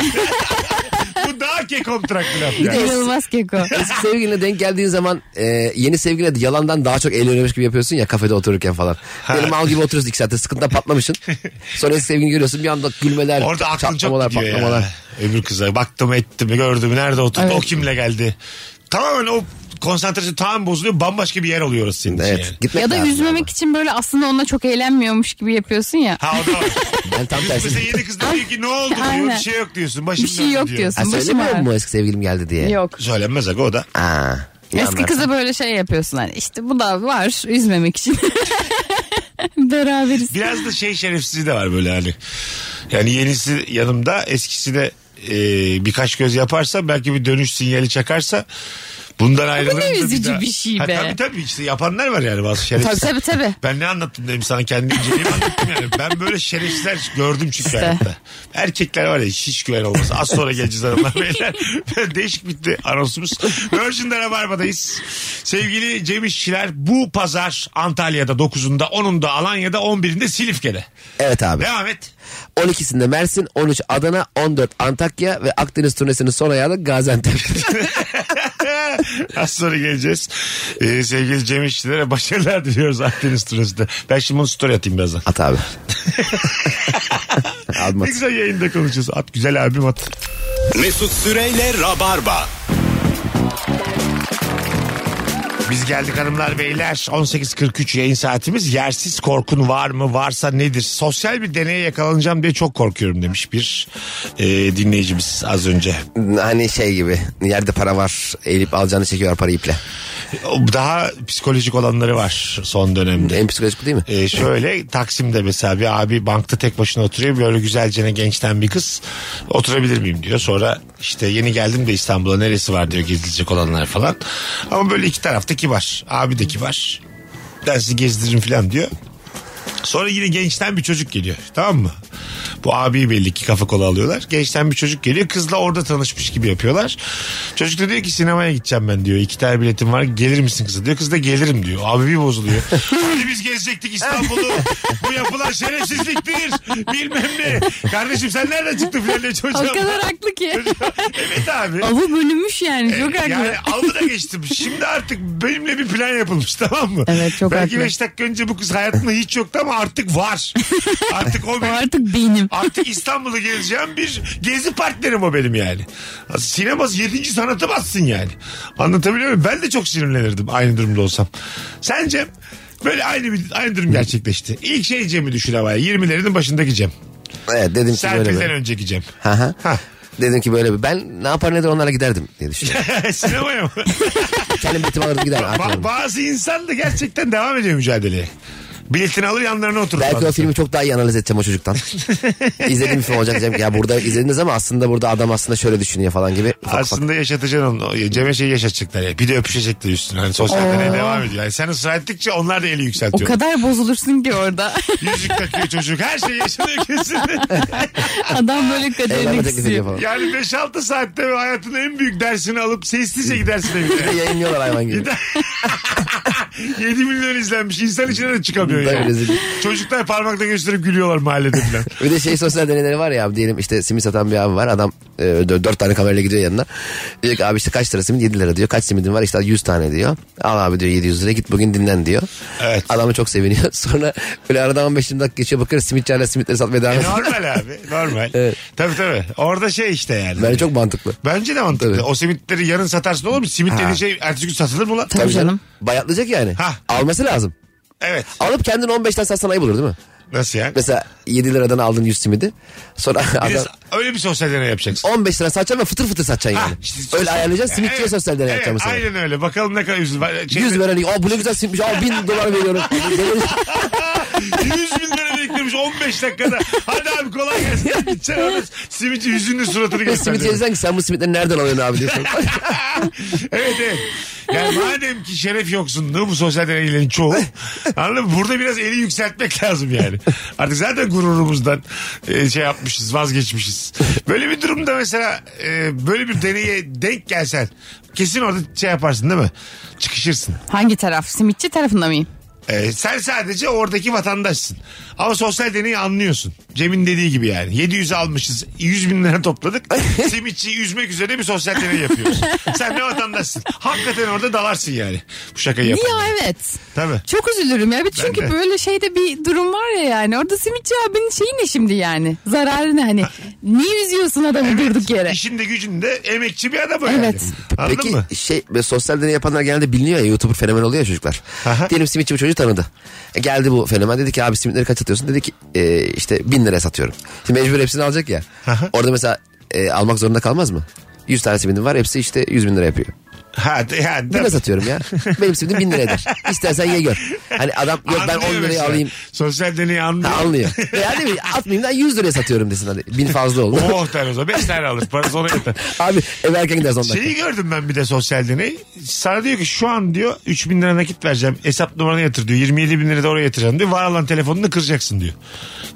C: bu daha kekontrak bir laf yani.
E: İnanılmaz keko.
D: Eski sevgiline denk geldiğin zaman e, yeni sevgiline de yalandan daha çok eğleniyormuş gibi yapıyorsun ya kafede otururken falan. Benim mal gibi oturuyorsun iki saatte sıkıntıda patlamışsın. Sonra eski sevgilini görüyorsun bir anda gülmeler,
C: Orada aklın
D: çatlamalar,
C: çok gidiyor
D: patlamalar.
C: ya. Öbür kıza baktım ettim gördüm nerede oturdu
E: Evet.
C: o kimle geldi. Tamamen o konsantrasyon tam bozuluyor bambaşka bir yer oluyor orası senin için
D: Evet.
C: yani.
D: Gitmek
E: Ya da
D: lazım
E: üzmemek
D: ama.
E: için böyle aslında onunla çok eğlenmiyormuş gibi yapıyorsun ya.
C: Ha o da var.
D: Ben tam
C: Mesela
D: tersi.
C: yeni kız da diyor ki ne oldu diyor bir
E: Aynen.
C: şey yok diyorsun.
E: Bir
C: Başım
E: şey
C: döndü
E: yok
C: diyor.
E: diyorsun.
D: Ha,
E: başım
D: söylemiyor
E: ağrıyor.
D: mu eski sevgilim geldi diye?
E: Yok.
C: Söylenmez aga o da.
D: Aa,
E: Eski
D: yanlar.
E: kıza böyle şey yapıyorsun hani işte bu da var üzmemek için. Beraberiz.
C: Biraz da şey şerefsizliği de var böyle hani. Yani yenisi yanımda eskisi de e, birkaç göz yaparsa belki bir dönüş sinyali çakarsa bundan ayrılırım. da
E: üzücü
C: daha-
E: bir şey
C: Ha,
E: be.
C: tabii tabii işte yapanlar var yani bazı
E: Tabii
C: şerefsiz.
E: tabii tabii.
C: Ben ne anlattım dedim sana kendi inceliğimi anlattım yani. Ben böyle şerefsizler gördüm çünkü
E: İşte.
C: hayatta. Erkekler var ya hiç güven olmaz. Az sonra geleceğiz hanımlar beyler. Değişik bitti anonsumuz. Virgin'de Rabarba'dayız. Sevgili Cem İşçiler bu pazar Antalya'da 9'unda 10'unda Alanya'da 11'inde Silifke'de.
D: Evet abi.
C: Devam et.
D: 12'sinde Mersin, 13 Adana, 14 Antakya ve Akdeniz turnesinin son ayağı da Gaziantep.
C: Az sonra geleceğiz. Ee, sevgili Cem İşçilere başarılar diliyoruz Akdeniz turasında. Ben şimdi bunu story atayım birazdan.
D: At abi. Almaz.
C: Ne güzel yayında konuşacağız. At güzel abim at.
B: Mesut Süreyle Rabarba.
C: Biz geldik hanımlar beyler 18.43 yayın saatimiz yersiz korkun var mı varsa nedir sosyal bir deneye yakalanacağım diye çok korkuyorum demiş bir e, dinleyicimiz az önce
D: Hani şey gibi yerde para var eğilip alacağını çekiyor para iple.
C: O daha psikolojik olanları var son dönemde.
D: En psikolojik bu değil mi?
C: E, şöyle Taksim'de mesela bir abi bankta tek başına oturuyor böyle güzelcene gençten bir kız oturabilir miyim diyor sonra işte yeni geldim de İstanbul'a neresi var diyor gezilecek olanlar falan ama böyle iki tarafta kibar abi de kibar ben sizi gezdiririm falan diyor Sonra yine gençten bir çocuk geliyor. Tamam mı? Bu abiyi belli ki kafa kola alıyorlar. Gençten bir çocuk geliyor. Kızla orada tanışmış gibi yapıyorlar. Çocuk da diyor ki sinemaya gideceğim ben diyor. İki tane biletim var. Gelir misin kıza? Diyor kız da gelirim diyor. Abi bir bozuluyor. Hani biz gezecektik İstanbul'u. Bu yapılan şerefsizliktir. Bilmem ne. Kardeşim sen nereden çıktın filan diye çocuğa.
E: O kadar haklı ki.
C: evet abi.
E: Avı bölünmüş yani çok haklı.
C: E, Yani aldı da geçtim. Şimdi artık benimle bir plan yapılmış tamam mı?
E: Evet, çok
C: Belki
E: haklı.
C: 5 dakika önce bu kız hayatında hiç yoktu ama artık var. artık o
E: O
C: benim.
E: artık benim.
C: Artık İstanbul'a geleceğim bir gezi partnerim o benim yani. Sinemas 7. sanatı bassın yani. Anlatabiliyor muyum? Ben de çok sinirlenirdim aynı durumda olsam. Sence böyle aynı bir, aynı durum gerçekleşti. İlk şey Cem'i düşün havaya. 20'lerinin başındaki Cem.
D: Evet dedim ki böyle
C: Serpil'den
D: bir.
C: önceki Cem.
D: Hı hı.
C: Ha.
D: Dedim ki böyle bir. Ben ne yapar ne der onlara giderdim diye düşünüyorum.
C: Sinemaya mı?
D: Kendim bitim alırdım giderdim.
C: Ba-
D: Ba-
C: bazı insan da gerçekten devam ediyor mücadeleye. Biletini alır yanlarına oturur.
D: Belki o
C: Adam.
D: filmi çok daha iyi analiz edeceğim o çocuktan. İzlediğim bir film olacak diyeceğim ki ya burada izlediniz ama aslında burada adam aslında şöyle düşünüyor falan gibi. Ufak ufak.
C: Aslında yaşatacaksın onu. Cem'e şey yaşatacaklar ya. Bir de öpüşecekler üstüne. Hani sosyal deney devam ediyor. Yani sen ısrar ettikçe onlar da eli
E: O
C: yükseltiyor.
E: kadar bozulursun ki orada.
C: Yüzük takıyor çocuk. Her şey yaşanıyor kesin.
E: Adam böyle
D: Evlenme
E: kaderini
D: teklif ediyor
E: kısıyor.
D: falan.
C: yani 5-6 saatte hayatın en büyük dersini alıp sessizce gidersin evine.
D: Yayınlıyorlar hayvan gibi.
C: 7 milyon izlenmiş. İnsan içine de çıkamıyor
D: Tabii
C: yani.
D: rezil.
C: Çocuklar parmakla gösterip gülüyorlar mahallede falan.
D: Bir de şey sosyal deneyleri var ya abi diyelim işte simit satan bir abi var adam e, dö- dört tane kamerayla gidiyor yanına. Diyor ki abi işte kaç lira simit 7 lira diyor kaç simidin var işte 100 tane diyor. Al abi diyor 700 lira git bugün dinlen diyor.
C: Evet.
D: Adamı çok seviniyor sonra böyle aradan 15 dakika geçiyor bakıyor simitçilerle simitleri satmaya devam
C: E,
D: ediyor.
C: normal abi. Normal. Tabii tabii. Orada şey işte yani.
D: Bence çok mantıklı.
C: Bence de mantıklı.
D: Tabii.
C: O simitleri yarın satarsın olur mu? Simit dediğin şey ertesi gün satılır mı lan?
E: Tabii canım.
D: Bayatlayacak yani.
C: Hah.
D: Alması lazım.
C: Evet.
D: Alıp kendini 15 tane satsan ayıp olur değil mi?
C: Nasıl yani?
D: Mesela 7 liradan aldın 100 simidi. Sonra
C: Bir de
D: adam
C: öyle bir sosyal deney yapacaksın.
D: 15 lira satacaksın ve fıtır fıtır satacaksın
C: Ha,
D: yani.
C: işte
D: Öyle
C: sosyal-
D: ayarlayacaksın simitçiye
C: Evet,
D: sosyal deney
C: evet,
D: yapacağım mesela.
C: Aynen öyle. Bakalım ne kadar yüz, şey,
D: 100 veren iyi. Aa bu ne güzel simmiş. Aa 1000 dolar veriyorum.
C: 100 bin lira beklemiş 15 dakikada. Hadi abi kolay gelsin. Gideceksin abi. Simitçi yüzünün suratını
D: Ve simit
C: gösterdi.
D: yesen ki sen bu simitleri nereden alıyorsun abi diyorsun.
C: evet evet. Yani madem ki şeref yoksunluğu bu sosyal deneylerin çoğu. Anladın mı? Burada biraz eli yükseltmek lazım yani. Artık zaten gururumuzdan e, şey yapmışız vazgeçmişiz. Böyle bir durumda mesela e, böyle bir deneye denk gelsen kesin orada şey yaparsın değil mi? Çıkışırsın.
E: Hangi taraf? Simitçi tarafında mıyım?
C: E, sen sadece oradaki vatandaşsın. Ama sosyal deneyi anlıyorsun. Cem'in dediği gibi yani. 700 almışız. 100 bin lira topladık. Simitçiyi üzmek üzere bir sosyal deney yapıyoruz. sen ne vatandaşsın? Hakikaten orada dalarsın yani. Bu şakayı yapın.
E: Ya evet.
C: Tabii.
E: Çok üzülürüm ya. Bir Çünkü
C: de.
E: böyle şeyde bir durum var ya yani. Orada simitçi abinin şeyi ne şimdi yani? Zararı ne hani? Niye üzüyorsun adamı durduk yere?
C: İşinde gücünde emekçi bir adam o
E: Evet.
C: yani. Anladın
D: Peki
C: mı?
D: şey böyle sosyal deney yapanlar genelde biliniyor ya YouTuber fenomen oluyor ya çocuklar.
C: Aha.
D: Diyelim simitçi bu çocuğu tanıdı. E, geldi bu fenomen dedi ki abi simitleri kaç satıyorsun? Dedi ki "E, işte 1000 liraya satıyorum. Şimdi mecbur hepsini alacak ya. Orada mesela e, almak zorunda kalmaz mı? 100 tane simidim var hepsi işte 100 bin lira yapıyor.
C: Ha, de- ha,
D: Bine
C: de-
D: satıyorum ya. Benim simidim 1000 lira eder. İstersen ye gör. Hani adam yok ben
C: Anlıyor
D: 10 liraya
C: mesela.
D: alayım.
C: Sosyal deneyi anlıyor.
D: Ha, anlıyor. Yani değil mi? Atmayayım da 100 liraya satıyorum desin hadi. 1000 fazla oldu.
C: Oh tane o zaman. Beş tane alır. Parası ona yeter.
D: Abi eve erken gidersin 10 dakika.
C: Şeyi gördüm ben bir de sosyal deney. Sana diyor ki şu an diyor 3 bin lira nakit vereceğim. Hesap numaranı yatır diyor. 27 bin lira da oraya yatıracağım diyor. Var olan telefonunu kıracaksın diyor.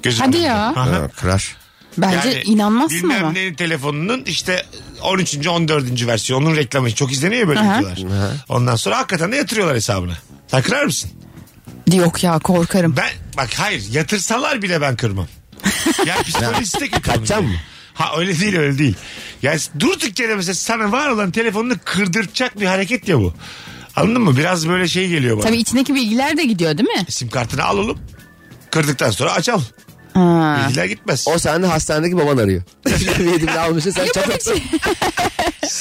C: Gözünün
E: Hadi
C: önünde.
E: ya.
C: Aha.
D: Ha, kırar.
E: Bence
C: Yani
E: inanmazsın
C: bilmem
E: ama.
C: neyin telefonunun işte 13. 14. versiyonu. Onun reklamı çok izleniyor ya böyle
E: Aha.
C: videolar. Ondan sonra hakikaten de yatırıyorlar hesabına. Sen kırar mısın?
E: Yok ya korkarım.
C: Ben bak hayır yatırsalar bile ben kırmam. ya psikolojisi de kötü. onun
D: Kaçacaksın
C: yani.
D: mı?
C: Ha öyle değil öyle değil. Ya durduk yere mesela sana var olan telefonunu kırdırtacak bir hareket ya bu. Anladın mı? Biraz böyle şey geliyor bana.
E: Tabii içindeki bilgiler de gidiyor değil mi?
C: Sim kartını al oğlum. Kırdıktan sonra aç al.
E: Ha.
C: Bilgiler gitmez.
D: O sende hastanedeki baban arıyor. Yedim de almışsın sen çatırsın.
C: şey?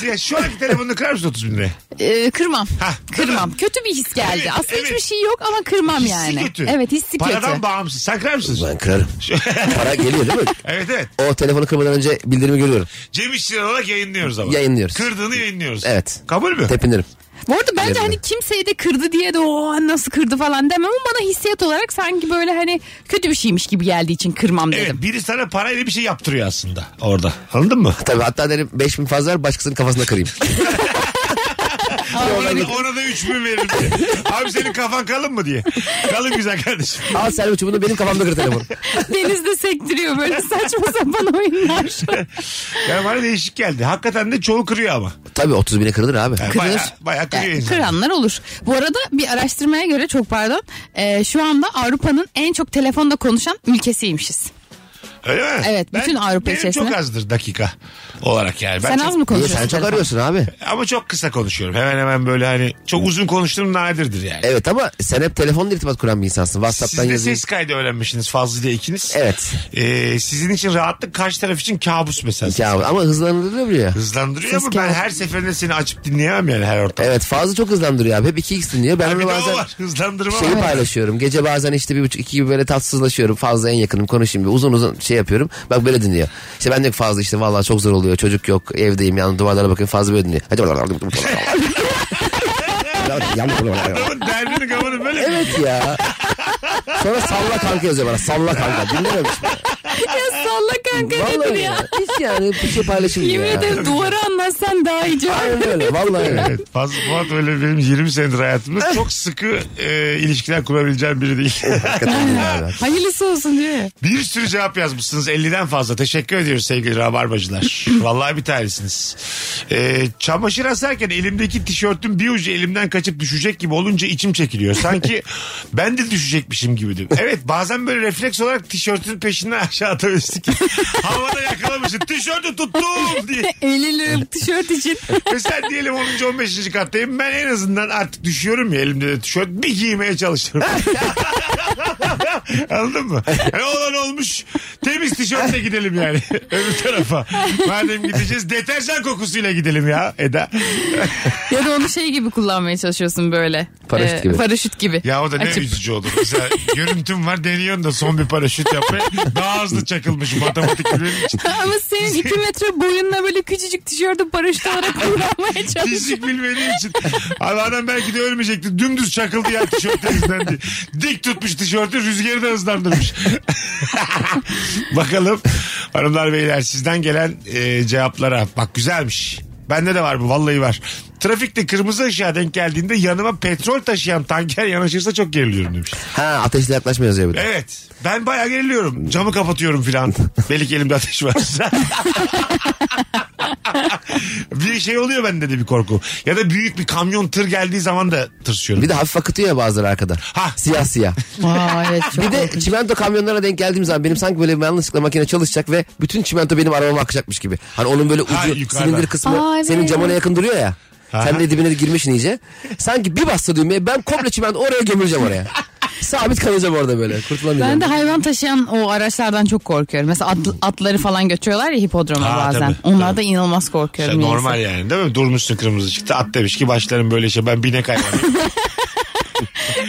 C: Ya şu anki telefonunu kırar mısın 30 bin liraya?
E: Ee, kırmam.
C: Ha,
E: kırmam. Kötü bir his geldi.
C: Evet,
E: Aslında
C: evet.
E: hiçbir şey yok ama kırmam
C: Hissi
E: yani.
C: kötü.
E: Evet hissi
C: Paradan
E: kötü.
C: bağımsız. Sen kırar mısın?
D: Ben kırarım. Para geliyor değil mi?
C: Evet evet.
D: O telefonu kırmadan önce bildirimi görüyorum.
C: Cem İşçiler olarak yayınlıyoruz ama.
D: Yayınlıyoruz.
C: Kırdığını yayınlıyoruz.
D: Evet.
C: Kabul mü?
D: Tepinirim.
E: Bu arada bence
D: Yerinde.
E: hani kimseye de kırdı diye de o nasıl kırdı falan demem ama bana hissiyat olarak sanki böyle hani kötü bir şeymiş gibi geldiği için kırmam
C: Evet,
E: dedim.
C: biri sana parayla bir şey yaptırıyor aslında orada. Anladın mı?
D: Tabii hatta derim 5000 fazla var başkasının kafasına kırayım.
C: Ona da, ona da üç bin veririm diye. Abi senin kafan kalın mı diye. Kalın güzel kardeşim.
D: Al servo çubuğunu benim kafamda kır telefonu.
E: Denizde sektiriyor böyle saçma sapan oyunlar.
C: Yani bana değişik geldi. Hakikaten de çoğu kırıyor ama.
D: Tabii 30 bine kırılır abi.
C: Yani
E: Kırılır.
C: Baya, baya kırıyor
E: Yani
C: insan.
E: kıranlar olur. Bu arada bir araştırmaya göre çok pardon e, şu anda Avrupa'nın en çok telefonda konuşan ülkesiymişiz.
C: Öyle mi?
E: Evet, bütün Avrupa
C: benim
E: içerisinde.
C: çok azdır dakika olarak yani. Ben
E: Sen
C: çok-
E: az mı
D: Niye
E: konuşuyorsun?
D: sen çok
E: telefon?
D: arıyorsun abi?
C: Ama çok kısa konuşuyorum. Hemen hemen böyle hani çok uzun konuştuğum nadirdir yani.
D: Evet ama sen hep telefonla irtibat kuran bir insansın.
C: Siz
D: Whatsapp'tan
C: de
D: yazıyor.
C: ses kaydı öğrenmişsiniz Fazlı ile ikiniz.
D: Evet.
C: Ee, sizin için rahatlık karşı taraf için kabus mesela.
D: Ya ama hızlandırılıyor ya.
C: Hızlandırıyor
E: Ses
C: ama ben
E: kabus.
C: her seferinde seni açıp dinleyemem yani her ortamda.
D: Evet fazla çok hızlandırıyor abi. Hep 2x dinliyor. Ben
C: Bir
D: onu
C: de o
D: Ee, bazen şey
C: var hızlandırma
D: şeyi
C: var.
D: paylaşıyorum. Gece bazen işte bir buçuk iki gibi böyle tatsızlaşıyorum. Fazla en yakınım konuşayım bir uzun uzun şey yapıyorum. Bak böyle dinliyor. İşte ben de fazla işte vallahi çok zor oluyor. Çocuk yok evdeyim yani duvarlara bakıyorum fazla böyle dinliyor. Hadi
C: Adamın derdini kafanı böyle
D: evet ya. Sonra salla kanka yazıyor bana. Salla kanka. Dinlememiş mi?
E: ya salla kanka nedir
D: Vallahi
E: ya?
D: ya. Hiç yani bir şey paylaşılmıyor
E: Yemin
D: ya.
E: ederim duvara anlatsan daha iyi cevap.
D: Aynen öyle. Vallahi öyle.
C: Evet, Fazıl Polat öyle benim 20 senedir hayatımda çok sıkı e, ilişkiler kurabileceğim biri değil.
E: Hayırlısı olsun diyor ya.
C: bir sürü cevap yazmışsınız 50'den fazla. Teşekkür ediyoruz sevgili rabarbacılar. Vallahi bir tanesiniz. E, çamaşır asarken elimdeki tişörtün bir ucu elimden kaçıp düşecek gibi olunca içim çekiliyor. Sanki ben de düşecekmişim gibidim. Evet bazen böyle refleks olarak tişörtün peşinden aşağı atabilirsin ki. Havada yakalamışsın. Tişörtü tuttum diye.
E: 50 liralık tişört için.
C: Mesela diyelim 10. 15. kattayım. Ben en azından artık düşüyorum ya elimde de tişört. Bir giymeye çalışırım. Anladın mı? Yani olan olmuş. Temiz tişörtle gidelim yani. Öbür tarafa. Madem gideceğiz deterjan kokusuyla gidelim ya Eda.
E: ya da onu şey gibi kullanmaya çalışıyorsun böyle. Ee,
D: Paraşüt gibi.
E: Paraşüt gibi.
C: Ya o da ne
E: Açıp.
C: üzücü olur. Mesela görüntüm var deniyorsun da son bir paraşüt yapmaya. Daha hızlı çakılmış matematik şey. benim için.
E: Ama senin 2 metre boyunla böyle küçücük tişörtü paraşüt olarak kullanmaya çalışıyorsun.
C: Fizik bilmediğim için. Abi adam belki de ölmeyecekti. Dümdüz çakıldı ya tişörtü yüzden diye. Dik tutmuş tişörtü rüzgarı da hızlandırmış. Bakalım hanımlar beyler sizden gelen e, cevaplara. Bak güzelmiş. Bende de var bu vallahi var. Trafikte kırmızı ışığa denk geldiğinde yanıma petrol taşıyan tanker yanaşırsa çok geriliyorum demiş.
D: Ha ateşle yaklaşma yazıyor bir de.
C: Evet. Ben bayağı geriliyorum. Camı kapatıyorum filan. Belki elimde ateş var. bir şey oluyor bende de bir korku. Ya da büyük bir kamyon tır geldiği zaman da tırsıyorum.
D: Bir de hafif akıtıyor ya bazıları arkada.
C: Ha.
D: Siyah siyah.
E: Aa, evet, çok
D: Bir de
E: korkunç.
D: çimento kamyonlara denk geldiğim zaman benim sanki böyle yanlışlıkla makine çalışacak ve bütün çimento benim arabama akacakmış gibi. Hani onun böyle ucu
C: Ha, yukarıdan.
D: silindir kısmı
E: Aa, evet.
D: senin camına yakın duruyor ya.
C: Aha.
D: Sen de dibine girmişsin iyice. Sanki bir bastı düğmeye ben komple çimento oraya gömüleceğim oraya. Sabit kalacağım orada böyle. Kurtulamayacağım.
E: Ben de hayvan taşıyan o araçlardan çok korkuyorum. Mesela at- atları falan götürüyorlar ya hipodroma
C: Ha,
E: bazen.
C: tabii,
E: Onlarda inanılmaz korkuyorum.
C: Şey,
E: niyeyse.
C: normal yani değil mi? Durmuşsun kırmızı çıktı. At demiş ki başlarım böyle şey. Ben binek hayvanıyım.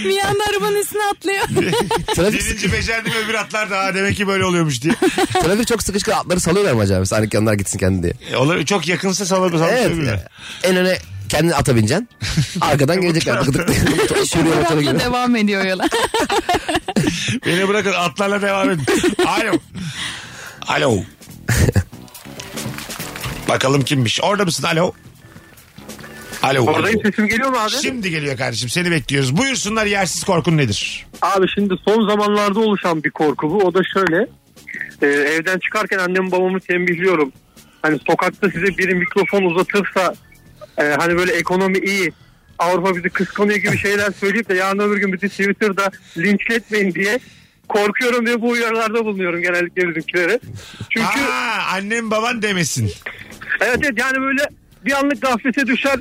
E: Bir anda arabanın üstüne atlıyor.
D: Trafik,
C: Birinci becerdim öbür atlar da ha, demek ki böyle oluyormuş diye.
D: trafik çok sıkışık atları salıyorlar mı acaba? Sanki yanlar gitsin kendi diye.
C: E, Olur, çok yakınsa salır salır
D: Evet. En öne kendini ata bineceksin. Arkadan gelecekler. Tık tık tık. Sürüyor motoru gibi.
E: Atla devam ediyor yola.
C: Beni bırakın atlarla devam edin. Alo. Alo. Bakalım kimmiş. Orada mısın? Alo. Alo.
G: Oradayım
C: Alo.
G: sesim geliyor mu abi?
C: Şimdi geliyor kardeşim. Seni bekliyoruz. Buyursunlar yersiz korkun nedir?
G: Abi şimdi son zamanlarda oluşan bir korku bu. O da şöyle. Ee, evden çıkarken annem babamı tembihliyorum. Hani sokakta size biri mikrofon uzatırsa e, hani böyle ekonomi iyi. Avrupa bizi kıskanıyor gibi şeyler söyleyip de yarın öbür gün bizi Twitter'da linçletmeyin diye korkuyorum ve bu uyarılarda bulunuyorum genellikle bizimkilere. Çünkü
C: Aa, annem baban demesin.
G: Evet evet yani böyle bir anlık gaflete düşer.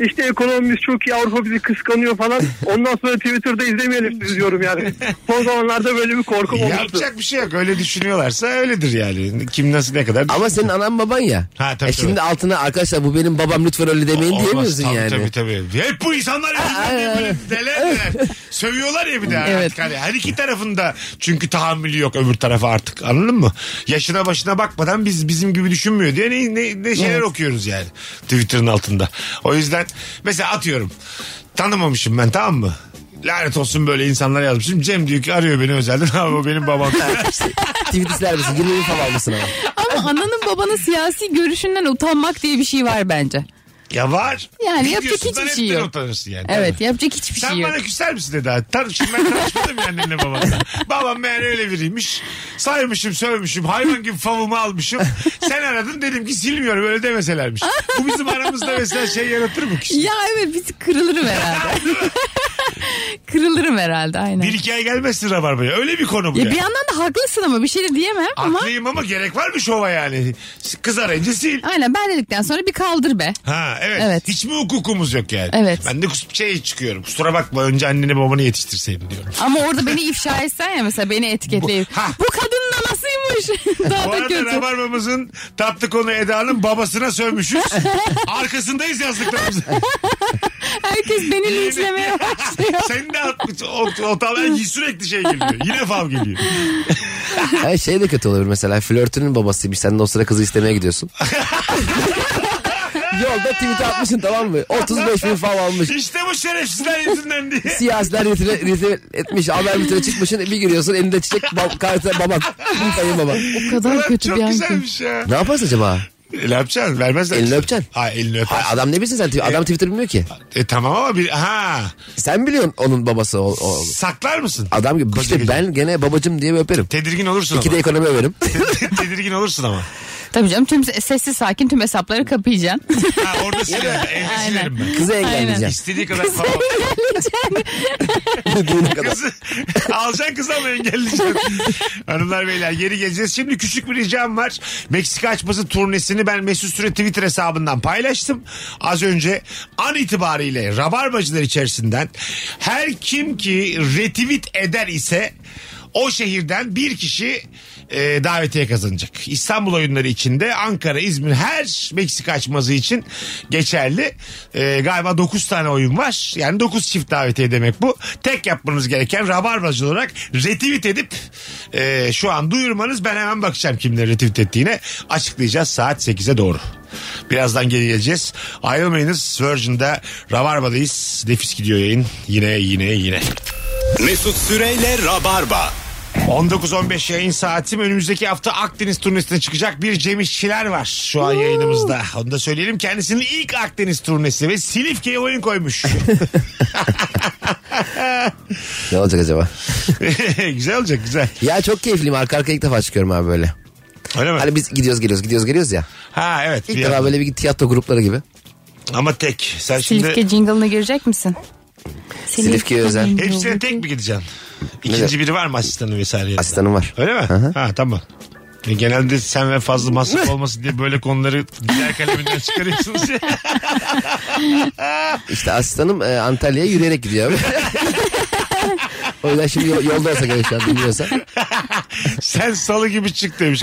G: İşte ekonomimiz çok iyi Avrupa bizi kıskanıyor falan. Ondan sonra Twitter'da izlemeyelim sizi diyorum yani. Son zamanlarda böyle bir korkum olmuştu.
C: Yapacak bir şey yok. Öyle düşünüyorlarsa öyledir yani. Kim nasıl ne kadar.
D: Ama senin anan baban ya.
C: Ha, tabii,
D: e şimdi altına arkadaşlar bu benim babam lütfen öyle demeyin
C: Olmaz.
D: E, diyemiyorsun
C: tabii,
D: yani.
C: Tabii tabii. Hep bu insanlar yüzünden diye böyle neler neler. Sövüyorlar ya bir de
E: Evet.
C: artık hani her iki tarafında çünkü tahammülü yok öbür tarafa artık anladın mı? Yaşına başına bakmadan biz bizim gibi düşünmüyor diye ne, ne, ne şeyler okuyoruz yani Twitter'ın altında. O yüzden mesela atıyorum tanımamışım ben tamam mı? Lanet olsun böyle insanlar yazmışım. Cem diyor ki arıyor beni özelden abi o benim babam.
D: Tweet'ler misin? 20 bin falan almışsın ama.
E: Ama ananın babanın siyasi görüşünden utanmak diye bir şey var bence.
C: ya var.
E: Yani
C: Ne
E: yapacak
C: diyorsun?
E: hiçbir
C: Sen
E: şey
C: hepten
E: yok.
C: utanırsın yani.
E: Evet yapacak hiçbir
C: Sen
E: şey yok.
C: bana küser misin dedi abi. Tar şimdi ben tartışmadım ya annenle babanla. Babam meğer öyle biriymiş. Saymışım sövmüşüm hayvan gibi favımı almışım. Sen aradın dedim ki silmiyorum öyle demeselermiş. Bu bizim aramızda mesela şey yaratır mı ki?
E: Ya evet biz kırılırım herhalde. kırılırım herhalde aynen.
C: Bir iki ay gelmezsin Rabarba'ya. Öyle bir konu bu
E: ya
C: ya.
E: bir yandan da haklısın ama bir şey de diyemem ama.
C: Haklıyım ama gerek var mı şova yani? Kız arayınca sil.
E: Aynen ben dedikten sonra bir kaldır be.
C: Ha evet.
E: Evet.
C: Hiç mi hukukumuz yok yani?
E: Evet.
C: Ben de kus- şey çıkıyorum. Kusura bakma önce anneni babanı yetiştirseydin diyorum.
E: Ama orada beni ifşa etsen ya mesela beni etiketleyip.
C: Bu- Ha.
E: Bu, kadının anasıymış. Daha
C: Bu
E: da
C: arada
E: kötü.
C: Rabarba'mızın tatlı konu Eda'nın babasına sövmüşüz. Arkasındayız yazdıklarımızı.
E: Herkes beni linçlemeye başlıyor.
C: Sen de atmış. O, o tavla sürekli şey geliyor. Yine fav geliyor.
D: Her şey de kötü olabilir mesela. Flörtünün babasıymış. Sen de o sıra kızı istemeye gidiyorsun. Yolda tweet'e atmışsın tamam mı? 35 bin falan almış.
C: İşte bu şerefsizler yüzünden diye.
D: Siyasiler retire, retire etmiş. Haber müdürü çıkmışsın. Bir giriyorsun elinde çiçek bab kartı babak. Kayın babak.
E: O kadar kötü
C: Çok
E: bir an ki.
C: güzelmiş ya.
D: Ne yaparsın acaba?
C: Ne yapacaksın? Vermezler.
D: Elini
C: ki.
D: öpeceksin.
C: Ha elini öper.
D: Ay, adam ne bilsin sen? Tw- Adam Twitter bilmiyor ki.
C: E tamam ama bir ha
D: Sen biliyorsun onun babası ol. ol-
C: saklar mısın?
D: Adam gibi.
C: Koca
D: İşte
C: gece.
D: ben gene babacım diye bir öperim.
C: tedirgin olursun
D: İki de
C: ama.
D: ekonomi öperim.
C: tedirgin olursun ama.
E: Tabii canım tüm sessiz sakin tüm hesapları kapayacaksın.
C: Ha orada silerim. Evde silerim ben.
D: Kızı engelleyeceğim.
C: İstediği kadar falan.
D: Düğüne kadar.
C: Kızı alacaksın kızı ama engelleyeceksin. Hanımlar beyler geri geleceğiz. Şimdi küçük bir ricam var. Meksika açması turnesini ben Mesut Süre Twitter hesabından paylaştım. Az önce an itibariyle rabarbacılar içerisinden her kim ki retweet eder ise o şehirden bir kişi e, davetiye kazanacak. İstanbul oyunları içinde Ankara, İzmir her Meksika açmazı için geçerli. E, galiba 9 tane oyun var. Yani 9 çift davetiye demek bu. Tek yapmanız gereken rabarbacı olarak retweet edip e, şu an duyurmanız ben hemen bakacağım kimleri retweet ettiğine. Açıklayacağız saat 8'e doğru. Birazdan geri geleceğiz. Ayrılmayınız. Virgin'de Rabarba'dayız. Nefis gidiyor yayın. Yine yine yine.
B: Mesut Süreyle Rabarba.
C: 19.15 yayın saatim. Önümüzdeki hafta Akdeniz turnesine çıkacak bir Cem İşçiler var şu an yayınımızda. Onu da söyleyelim. Kendisinin ilk Akdeniz turnesi ve Silifke'ye oyun koymuş.
D: Ne olacak acaba?
C: güzel olacak güzel.
D: Ya çok keyifliyim. Arka arkaya ilk defa çıkıyorum abi böyle.
C: Öyle mi?
D: Hani biz gidiyoruz geliyoruz gidiyoruz geliyoruz ya.
C: ha evet.
D: İlk
C: Bir
D: defa
C: yandan.
D: böyle bir tiyatro grupları gibi.
C: Ama tek. Sen
E: Silifke
C: şimdi
E: jingle'ına girecek misin?
D: Silifke özel.
C: hepsine tek mi gideceksin? İkinci
D: Neden?
C: biri var mı asistanı vesaire? yanında?
D: Asistanım var.
C: Öyle mi?
D: hı.
C: Ha tamam. E, Genelde sen ve fazla masraf olmasın diye böyle konuları diğer kaleminden çıkarıyorsunuz ya.
D: İşte asistanım e, Antalya'ya yürüyerek gidiyor abi. o yüzden şimdi yol- yolda olsa gerek şu an dinliyorsa.
C: Sen salı gibi çık demiş.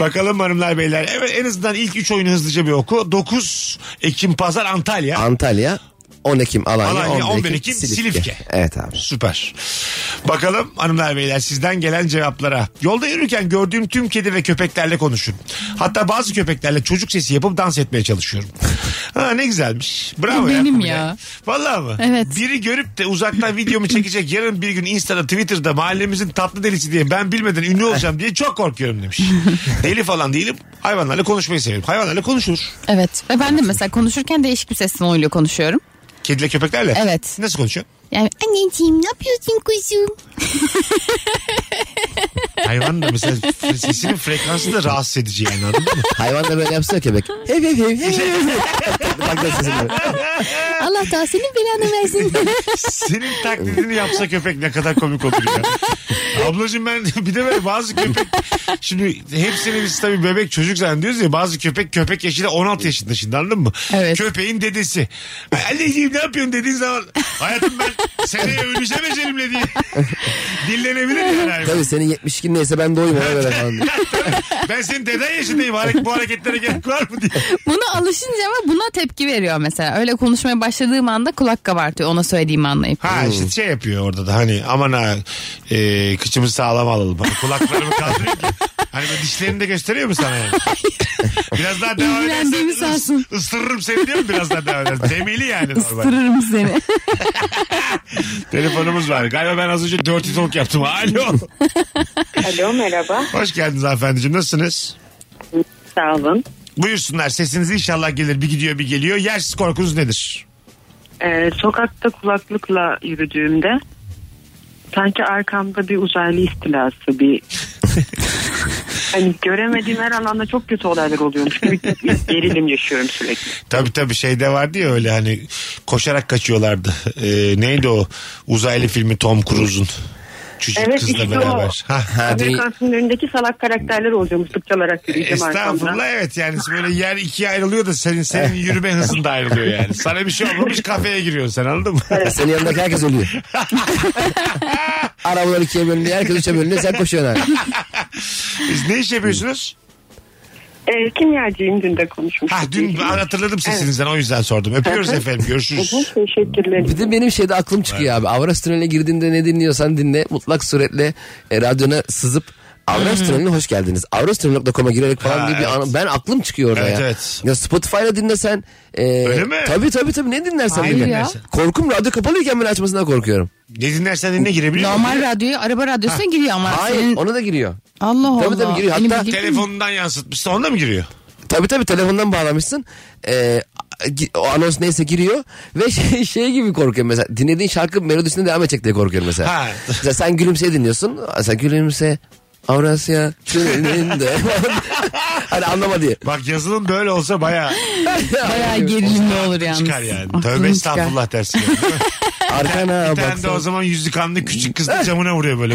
C: Bakalım hanımlar beyler. Evet en azından ilk 3 oyunu hızlıca bir oku. 9 Ekim Pazar Antalya.
D: Antalya 10 Ekim Alanya,
C: Alanya,
D: 11
C: 11
D: Ekim,
C: Ekim,
D: Silifke.
C: Silifke.
D: Evet abi.
C: Süper. Bakalım hanımlar beyler sizden gelen cevaplara. Yolda yürürken gördüğüm tüm kedi ve köpeklerle konuşun. Hatta bazı köpeklerle çocuk sesi yapıp dans etmeye çalışıyorum. ha ne güzelmiş. Bravo
E: Bu benim
C: Kubilay.
E: ya.
C: Vallahi mı?
E: Evet.
C: Biri görüp de uzaktan videomu çekecek yarın bir gün Insta'da Twitter'da mahallemizin tatlı delisi diye ben bilmeden ünlü olacağım diye çok korkuyorum demiş. Deli falan değilim. Hayvanlarla konuşmayı seviyorum. Hayvanlarla konuşulur.
E: Evet. Ve ben de mesela konuşurken değişik bir ses tonuyla konuşuyorum.
C: Kediyle köpeklerle.
E: Evet.
C: Nasıl konuşuyor?
E: Yani anneciğim ne yapıyorsun kuzum?
C: Hayvan da mesela f- sesinin frekansı da rahatsız edici yani anladın mı?
D: Hayvan da böyle yapsın ya köpek. Hev hev hev hev hev. Bak da sesini böyle.
E: Allah da senin belanı versin.
C: Senin taklidini yapsa köpek ne kadar komik olur ya. Ablacığım ben bir de böyle bazı köpek şimdi hepsini biz tabii bebek çocuk zannediyoruz ya bazı köpek köpek yaşında 16 yaşında şimdi anladın mı?
E: Evet.
C: Köpeğin dedesi. Ay, Anneciğim ne yapıyorsun dediğin zaman hayatım ben seneye öleceğim ecelimle diye dillenebilir yani. hayvan.
D: Tabii senin 72 neyse ben doyum ona göre falan. diyor.
C: Ben senin deden yaşındayım Harek- bu hareketlere gerek var mı diye.
E: Buna alışınca ama buna tepki veriyor mesela. Öyle konuşmaya başladığım anda kulak kabartıyor ona söylediğimi anlayıp.
C: Ha işte şey yapıyor orada da hani aman ha e, kıçımızı sağlam alalım. Hani kulaklarımı kaldırayım ki. Hani böyle dişlerini de gösteriyor mu sana yani? biraz daha devam edersen
E: İlgilendiğimi sarsın.
C: ıs- ısırırım seni diyor mu biraz daha devam edersen? Demeli yani normal.
E: Isırırım seni.
C: Telefonumuz var. Galiba ben az önce dirty talk yaptım. Alo. şey.
J: Alo merhaba.
C: Hoş geldiniz hanımefendiciğim. Nasılsınız?
J: Sağ olun.
C: Buyursunlar. Sesiniz inşallah gelir. Bir gidiyor bir geliyor. Yersiz korkunuz nedir?
J: Ee, sokakta kulaklıkla yürüdüğümde sanki arkamda bir uzaylı istilası bir hani göremediğim her alanda çok kötü olaylar oluyormuş gibi gerilim yaşıyorum sürekli.
C: Tabii tabii şeyde vardı ya öyle hani koşarak kaçıyorlardı. Ee, neydi o uzaylı filmi Tom Cruise'un? Çocuk
J: Evet,
C: kızla
J: işte
C: beraber. Ha.
D: Ha,
J: Amerikan
D: dünya-
J: filmlerindeki önündeki salak karakterler oluyormuş tıkçalarak yürüyeceğim
C: Estağfurullah
J: arkamda.
C: evet yani böyle yer ikiye ayrılıyor da senin senin yürüme hızın da ayrılıyor yani. Sana bir şey olmamış kafeye giriyorsun sen anladın mı?
D: Senin yanındaki herkes ölüyor. Arabalar ikiye bölünüyor. Herkes üçe bölünüyor. Sen koşuyorsun abi.
C: Biz ne iş yapıyorsunuz?
J: Ee, kimyacıyım dün de konuşmuştuk.
C: Ha dün hatırladım sesinizden o yüzden sordum. Öpüyoruz
J: Evet.
C: efendim görüşürüz.
J: Hı, Teşekkürler.
D: Bir de benim şeyde aklım çıkıyor abi. Avras tüneline girdiğinde ne dinliyorsan dinle. Mutlak suretle e, radyona sızıp Avrastronom'la hoş geldiniz. Avrastrolog.com'a girerek falan
C: Ha,
D: diye bir
C: evet.
D: an- ben aklım çıkıyor orada
C: Evet,
D: ya.
C: evet.
D: Ya Spotify'la dinlesen. E,
C: Öyle mi?
D: Tabii tabii tabii ne dinlersen
E: Hayır
D: dinle.
E: ya.
D: Korkum radyo kapalıyken ben açmasından korkuyorum.
C: Ne dinlersen dinle girebiliyor
E: Normal
C: musun?
E: radyoya araba radyosuna giriyor ama.
D: Hayır
E: senin-
D: ona da giriyor.
E: Allah Allah.
D: Tabii tabii giriyor.
E: Benim
D: Hatta
E: bildiğim-
C: Telefonundan yansıtmışsa onda mı giriyor?
D: Tabii tabii telefondan bağlamışsın. Ee, gi- o anons neyse giriyor ve şey, şey gibi korkuyorum mesela dinlediğin şarkı melodisine devam edecek diye korkuyorum mesela.
C: Ha.
D: Mesela sen gülümse dinliyorsun. Sen gülümse Avrasya tünelinde. hani anlama diye.
C: Bak yazılım böyle olsa baya
E: Bayağı gerilimli olur yalnız.
C: çıkar yani.
E: Aklın
C: Tövbe
E: çıkar.
C: estağfurullah dersin. yani, değil mi?
D: Arkana
C: Bir tane de o
D: bak.
C: zaman yüzü kanlı küçük kız da camına vuruyor böyle.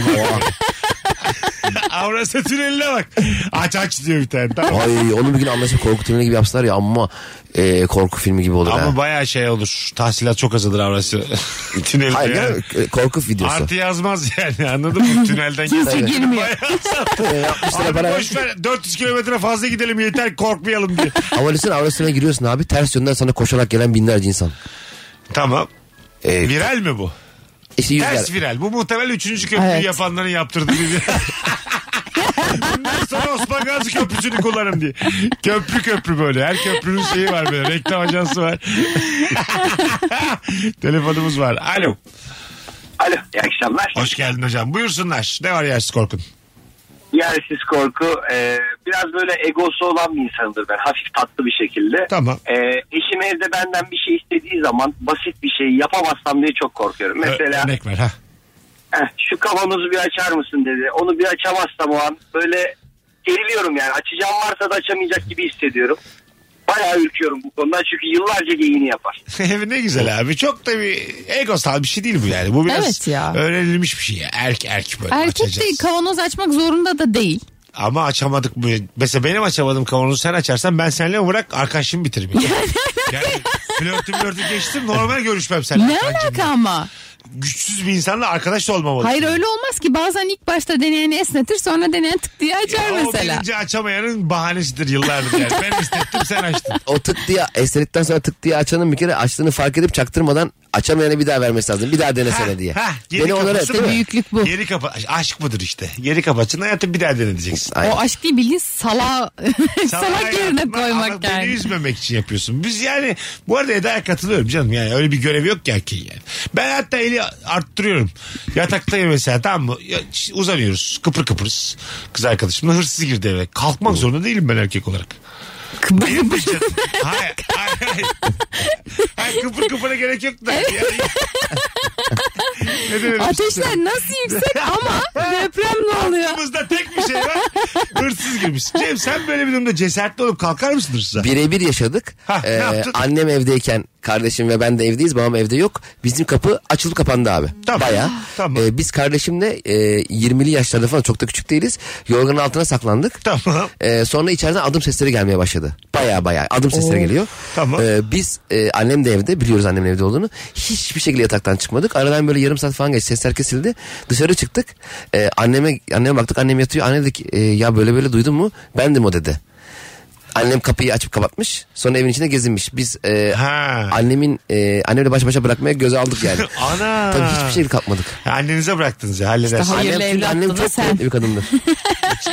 C: Avrasya tüneline bak. Aç aç diyor bir tane. Tamam.
D: Ay onu bir gün anlaşıp korku filmi gibi yapsalar ya amma e, korku filmi gibi olur
C: Ama
D: ha.
C: bayağı şey olur. Tahsilat çok azalır Avrasya tünelinde.
D: Hayır
C: yani.
D: yani, e, korku videosu.
C: Artı yazmaz yani anladın mı? Tünelden
E: Kimse girmiyor.
D: E, 60 lira
C: Abi
D: para
C: boş ver 400 kilometre fazla gidelim yeter korkmayalım diye.
D: Ama lütfen Avrasya'ya giriyorsun abi ters yönden sana koşarak gelen binlerce insan.
C: tamam.
D: E,
C: Viral mi bu?
D: işte yüzler-
C: Ters viral. Bu muhtemel 3. köprüyü
E: Evet.
C: yapanların yaptırdığı bir Bundan sonra Osman Gazi Köprüsü'nü kullanın diye. Köprü köprü böyle. Her köprünün şeyi var böyle. Reklam ajansı var. Telefonumuz var. Alo.
H: Alo iyi akşamlar.
C: Hoş geldin hocam. Buyursunlar. Ne var yersiz korkun?
H: Yersiz korku e, biraz böyle egosu olan bir insandır ben hafif tatlı bir şekilde.
C: Tamam.
H: E, eşim evde benden bir şey istediği zaman basit bir şey yapamazsam diye çok korkuyorum.
C: Ö-
H: Mesela
C: örnek ver ha.
H: "Eh, şu kavanozu bir açar mısın dedi. Onu bir açamazsam o an böyle geriliyorum yani açacağım varsa da açamayacak gibi hissediyorum. Bayağı ürküyorum bu konudan çünkü yıllarca geyini yapar.
C: ne güzel abi. Çok da bir egosal bir şey değil bu yani. Bu biraz
E: Evet ya.
C: öğrenilmiş bir şey. ya. Erk erk böyle
E: Erkek
C: açacağız.
E: değil kavanoz açmak zorunda da değil.
C: Ama açamadık bu. Mesela benim açamadığım kavanozu sen açarsan ben seninle bırak arkadaşımı bitiririm. Yani, yani flörtü flörtü geçtim normal görüşmem seninle.
E: Ne
C: Kancım.
E: alaka ama?
C: Güçsüz bir insanla arkadaş da olmamalı.
E: Hayır öyle olmaz ki bazen ilk başta deneyeni esnetir sonra deneyen tık diye açar
C: O
E: mesela.
C: birinci açamayanın bahanesidir yıllardır yani. Ben istettim sen açtın.
D: o tık diye esnettikten sonra tık diye açanın bir kere açtığını fark edip çaktırmadan açamayana bir daha vermesi lazım. Bir daha denesene
C: Ha,
D: diye.
C: ha, geri
D: Beni onlara
C: kafası
D: değil
C: mı?
D: mi?
E: Büyüklük bu.
C: Geri kapa aşk mıdır işte. Geri kapatacaksın hayatı bir daha deneyeceksin.
D: Aynen.
E: O aşk değil bildiğin sala, salak yerine
C: hayatına
E: koymak
C: ama Beni
E: yani.
C: üzmemek için yapıyorsun. Biz yani bu arada Eda'ya katılıyorum canım yani öyle bir görev yok ki erkeğin yani. Ben hatta eli arttırıyorum. Yataktayım mesela tamam mı? Ya, ş- Uzanıyoruz kıpır kıpırız. Kız arkadaşımla hırsız girdi eve. Kalkmak zorunda değilim ben erkek olarak. Benim de canım- hayır, hayır, hayır. Hayır, kıpır kıpıra gerek yok da. Yani- Ne demek
E: Ateşler nasıl yüksek ama deprem ne oluyor?
C: Aklımızda tek bir şey var. Hırsız girmiş. Cem sen böyle bir durumda cesaretli olup kalkar mısın hırsıza?
D: Birebir yaşadık.
C: Ha, ne
D: Ee,
C: yaptın?
D: annem evdeyken kardeşim ve ben de evdeyiz. Babam evde yok. Bizim kapı açıldı kapandı abi.
C: Tamam.
D: Baya.
C: Tamam.
D: biz kardeşimle e, 20'li yaşlarda falan çok da küçük değiliz. Yorganın altına saklandık.
C: Tamam.
D: Ee, sonra içeriden adım sesleri gelmeye başladı. Baya baya adım sesleri geliyor.
C: Tamam.
D: Ee, biz e, annem de evde biliyoruz annemin evde olduğunu. Hiçbir şekilde yataktan çıkmadık. Aradan böyle yarım saat falan geçti. Sesler kesildi. Dışarı çıktık. Ee, anneme anneme baktık. Annem yatıyor. Anne dedi ki, "E, ya böyle böyle duydun mu? Bendim o dedi. Annem kapıyı açıp kapatmış. Sonra evin içinde gezinmiş. Biz e,
C: Ha.
D: annemin e, annemle baş başa bırakmaya göze aldık yani.
C: Ana.
D: Tabii hiçbir şey kapmadık.
C: Annenize bıraktınız ya halledersiniz.
E: Hayırlı
D: Annem, çünkü
E: evlat
D: annem
E: da
D: çok
E: sen.
D: kuvvetli bir kadındır.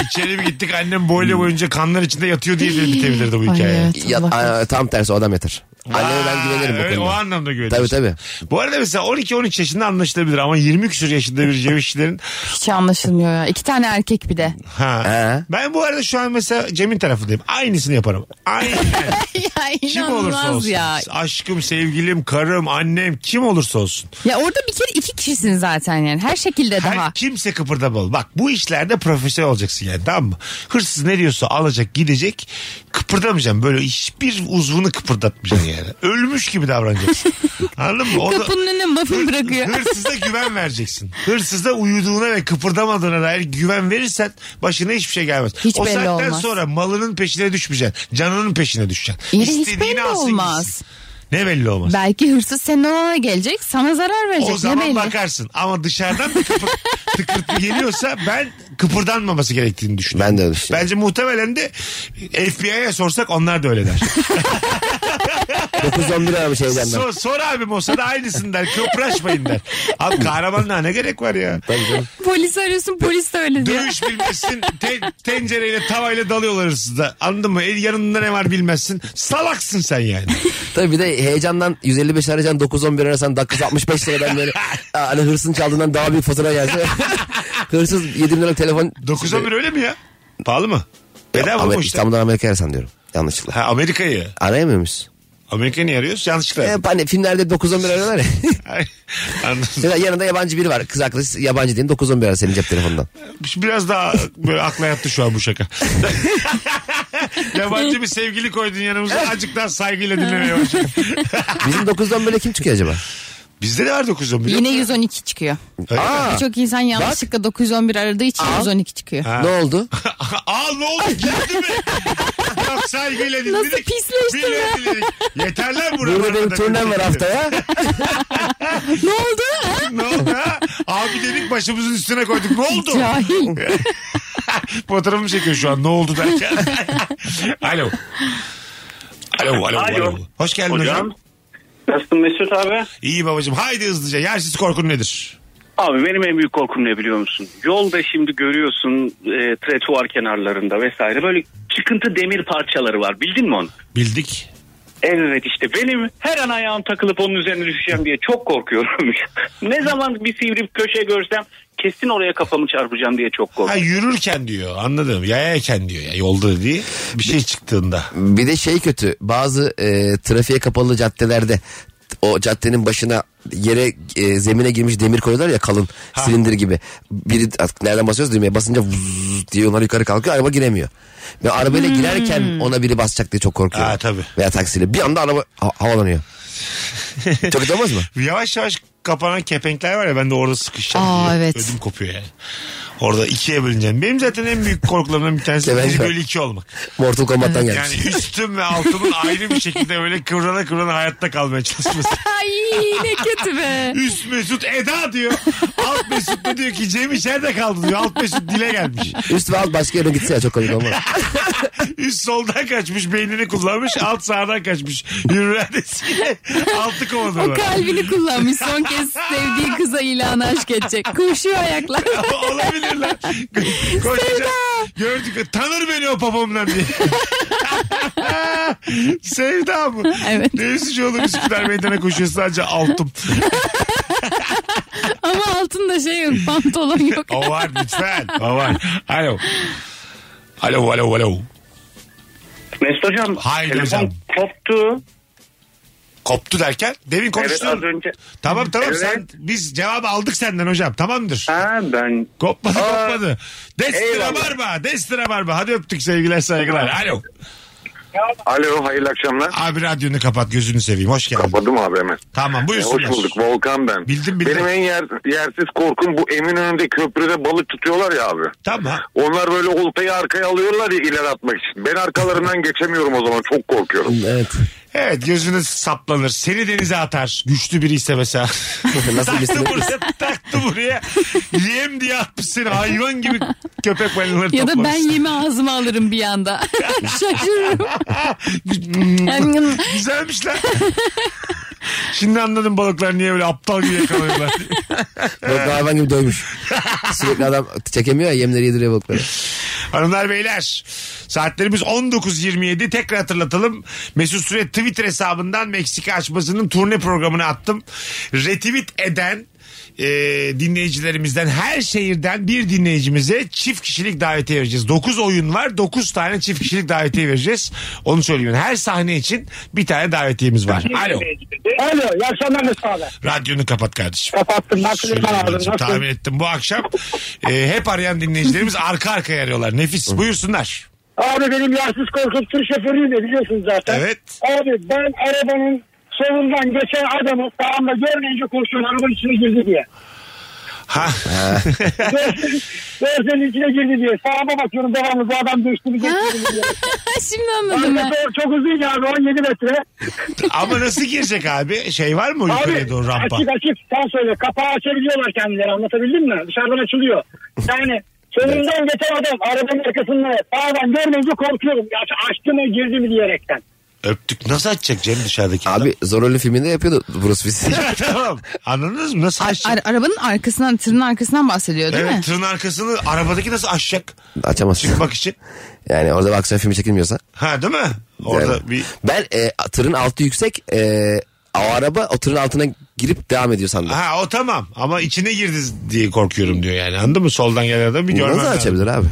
C: İçeri mi gittik annem boylu boyunca kanlar içinde yatıyor diye de bitebilirdi bu
E: Ay,
C: hikaye.
E: evet.
D: Ya, a- tam tersi o adam yatır. Anneme ben
C: Vay,
D: güvenirim bu
C: öyle, O
D: konuda.
C: anlamda
D: Tabii
C: güveniyorsun.
D: tabii.
C: Bu arada mesela 12-13 yaşında anlaşılabilir ama 20 küsur yaşında bir cevişlerin
E: Hiç anlaşılmıyor ya. İki tane erkek bir de.
C: ha.
D: He.
C: Ben bu arada şu an mesela Cem'in tarafındayım. Aynısını yaparım. Aynı.
E: ya
C: kim olursa
E: inanılmaz
C: olsun.
E: ya.
C: Aşkım, sevgilim, karım, annem kim olursa olsun.
E: Ya orada bir kere iki kişisin zaten yani. Her şekilde daha.
C: Her şey kimse kıpırdamalı. Bak bu işlerde profesyonel olacaksın yani tamam mı? Hırsız ne diyorsa alacak gidecek kıpırdamayacaksın. Böyle hiçbir uzvunu kıpırdatmayacaksın yani. Ölmüş gibi davranacaksın. Anladın mı? O da-
E: Kapının önüne muffin bırakıyor.
C: Hırsıza güven vereceksin. Hırsıza uyuduğuna ve kıpırdamadığına dair güven verirsen başına hiçbir şey gelmez.
E: Hiç
C: o
E: belli
C: saatten
E: olmaz.
C: sonra malının peşine düşmeyeceksin. Canının peşine düşeceksin.
E: İyi de hiç belli
C: alsın gitsin.
E: olmaz.
C: Ne belli olmaz?
E: Belki hırsız senin olana gelecek sana zarar verecek.
C: O zaman
E: ne belli?
C: bakarsın ama dışarıdan bir kıpır, tıkırtı geliyorsa ben kıpırdanmaması gerektiğini düşünüyorum.
D: Ben de öyle düşünüyorum.
C: Bence muhtemelen de FBI'ye sorsak onlar da öyle der.
D: 9-11 aramış evden ben.
C: Sor, sor abi Mosada aynısın der. Kıpraşmayın der. Abi kahramanlığa ne gerek var ya?
D: Tabii canım.
E: Polisi arıyorsun polis de öyle diyor.
C: Dövüş bilmezsin. Te- tencereyle tavayla dalıyorlar hırsızda. Anladın mı? El yanında ne var bilmezsin. Salaksın sen yani.
D: Tabii bir de heyecandan 155 arayacaksın 9-11 arasan 965 liradan böyle aa, hani hırsını çaldığından daha büyük fatura gelse. Hırsız 7 bin liralık telefon.
C: 9-11 öyle mi ya? Pahalı mı? Bedava mı
D: Amer-
C: bu işte?
D: İstanbul'dan Amerika'ya arasan diyorum. Yanlışlıkla.
C: Ha, Amerika'yı.
D: Arayamıyor muyuz?
C: Amerika'yı niye arıyoruz? Yanlışlıkla.
D: Hep hani filmlerde 9-11 arıyorlar ya.
C: Anladım.
D: Mesela yanında yabancı biri var. Kız arkadaşı yabancı değil 9-11 arar senin cep telefonundan.
C: Biraz daha böyle akla yattı şu an bu şaka. Yabancı bir sevgili koydun yanımıza. Azıcık daha saygıyla dinlemeye başladım.
D: Bizim 9-11'e kim çıkıyor acaba?
C: Bizde de var 9-11.
E: Yine 112 çıkıyor.
C: Öyle mi?
E: Birçok insan yanlışlıkla 911 aradığı için 112 çıkıyor.
D: Ne oldu?
C: Aa ne oldu geldi mi? Yok saygıyla dinledik.
E: Nasıl pisleşti be?
C: Bile dinledik. Yeter lan buraya.
D: Burada benim turnem var haftaya.
E: ne oldu?
C: ne oldu ha? Abi dedik başımızın üstüne koyduk. Ne oldu?
E: Cahil.
C: Fotoğrafımı çekiyor şu an ne oldu derken. alo. Alo, alo, alo.
I: Alo.
C: Hoş geldin hocam.
I: Hocam. Nasılsın Mesut abi?
C: İyi babacığım. Haydi hızlıca. Yersiz korkun nedir?
I: Abi benim en büyük korkum ne biliyor musun? Yolda şimdi görüyorsun e, tretuar kenarlarında vesaire böyle çıkıntı demir parçaları var. Bildin mi onu?
C: Bildik.
I: Evet işte benim her an ayağım takılıp onun üzerine düşeceğim diye çok korkuyorum. ne zaman bir sivri bir köşe görsem kesin oraya kafamı çarpacağım diye çok
C: Ha
I: korkuyorum.
C: yürürken diyor. Anladım. Yayayken diyor. Ya, yolda değil. Bir şey çıktığında.
D: Bir de şey kötü bazı e, trafiğe kapalı caddelerde o caddenin başına yere e, zemine girmiş demir koyuyorlar ya kalın silindir gibi. Biri artık nereden basıyoruz düğmeye basınca vuz diye onlar yukarı kalkıyor araba giremiyor. Ve arabayla girerken ona biri basacak diye çok korkuyorum.
C: Hmm. Ha, tabii.
D: Veya taksiyle bir anda araba ha- havalanıyor. çok kötü olmaz mı?
C: Yavaş yavaş kapanan kepenkler var ya ben de orada sıkışacağım
E: Aa,
C: diye
E: evet.
C: ödüm kopuyor yani. Orada ikiye bölüneceğim. Benim zaten en büyük korkularımdan bir tanesi
D: Kepenk
C: bir
D: var.
C: bölü iki olmak.
D: Mortal Kombat'tan gelmiş.
C: Yani üstüm ve altımın ayrı bir şekilde öyle kıvrana kıvrana hayatta kalmaya çalışması.
E: Ay ne kötü be.
C: Üst Mesut Eda diyor. Alt Mesut da diyor ki Cem içeride kaldı diyor. Alt Mesut dile gelmiş.
D: Üst ve alt başka yere gitse ya çok komik olmaz.
C: Üst soldan kaçmış beynini kullanmış. Alt sağdan kaçmış. Yürüyen eskiyle altı
E: O
C: kovadılar.
E: kalbini kullanmış son kez sevdiği kıza ilanı aşk edecek. Koşuyor ayaklar.
C: Olabilir lan. Koşacağız. Gördük. Tanır beni o papamdan diye. Sevda mı?
E: Evet.
C: Ne üzücü olur Üsküdar meydana koşuyor sadece altım.
E: Ama altında şey yok pantolon yok.
C: O var lütfen. O var. Alo. Alo alo alo.
I: Mesut hocam
C: Haydi
I: telefon
C: hocam.
I: koptu.
C: Koptu derken demin
I: Evet
C: konuştun.
I: az önce.
C: Tamam tamam
I: Evet.
C: sen biz cevabı aldık senden hocam tamamdır.
I: Ha ben
C: Kopmadı
I: Aa,
C: kopmadı. Destira
I: eyvallah.
C: barba destira barba hadi öptük sevgiler saygılar. Alo.
F: Alo hayırlı akşamlar.
C: Abi radyonu kapat gözünü seveyim hoş geldin.
F: Kapadım abi hemen.
C: Tamam buyursunlar.
F: Hoş bulduk Volkan ben.
C: Bildim, bildim.
F: Benim en yer- yersiz korkum bu Eminönü'nde köprüde balık tutuyorlar ya abi.
C: Tamam.
F: Onlar böyle oltayı arkaya alıyorlar ya ileri atmak için. Ben arkalarından geçemiyorum o zaman çok korkuyorum.
D: evet.
C: Evet gözünüz saplanır. Seni denize atar. Güçlü biri ise mesela.
D: Nasıl
C: taktı
D: birisi?
C: buraya taktı buraya. Yem diye atmış seni. Hayvan gibi köpek balinaları
E: Ya da
C: toplamış.
E: ben yemi ağzıma alırım bir anda. Şaşırırım. Yani
C: Güzelmiş lan. Şimdi anladım balıklar niye böyle aptal gibi yakalıyorlar.
D: Balıklar hayvan gibi dövmüş. Sürekli adam çekemiyor ya yemleri yediriyor balıkları.
C: Hanımlar beyler saatlerimiz 19.27 tekrar hatırlatalım. Mesut Süre Twitter hesabından Meksika açmasının turne programını attım. Retweet eden e, dinleyicilerimizden her şehirden bir dinleyicimize çift kişilik davetiye vereceğiz. 9 oyun var 9 tane çift kişilik davetiye vereceğiz. Onu söyleyeyim. Her sahne için bir tane davetiyemiz var. Alo
H: Alo iyi akşamlar Mesut abi.
C: radyonu kapat kardeşim.
H: Kapattım. Nasıl
C: Şöyle
H: Mesut abi?
C: birazcık
H: Nasıl?
C: Tahmin ettim bu akşam e, hep arayan dinleyicilerimiz arka arkaya arıyorlar. Nefis buyursunlar.
H: Abi benim yersiz korkum tır şoförüyüm de biliyorsun zaten.
C: Evet.
H: Abi ben arabanın solundan geçen adamı sağımda görmeyince koşuyorum arabanın içine girdi diye.
C: Ha.
H: Görsel- Görselin içine girdi diye. Sağıma bakıyorum devamlı bu adam geçti mi geçti mi diye.
E: şimdi anladım ben.
H: Arkası çok uzun ya abi 17 metre.
C: Ama nasıl girecek abi? Şey var mı yukarıya
H: Abi
C: doğru rampa?
H: açık açık sen söyle kapağı açabiliyorlar kendileri anlatabildim mi? Dışarıdan açılıyor. Yani solundan geçen adam arabanın arkasında sağdan görmeyince korkuyorum. Ya açtı mı girdi mi diyerekten.
C: Öptük. Nasıl açacak Cem dışarıdaki adam?
D: Abi Zorol'un filminde yapıyordu Bruce Willis.
C: tamam. Anladınız mı? Nasıl açacak?
E: Ar- arabanın arkasından, tırın arkasından bahsediyor değil mi?
C: evet tırın arkasını arabadaki nasıl açacak?
D: Açamazsın.
C: Çıkmak için.
D: Yani orada bir aksiyon filmi çekilmiyorsa.
C: Ha değil mi? Orada
D: Yani.
C: bir
D: Ben e, tırın altı yüksek e, o araba o tırın altına girip devam ediyor sandım.
C: Ha o tamam ama içine girdi diye korkuyorum diyor yani anladın mı? Soldan gelen adamı bir görmem
D: Nasıl
C: lazım.
D: açabilir abi?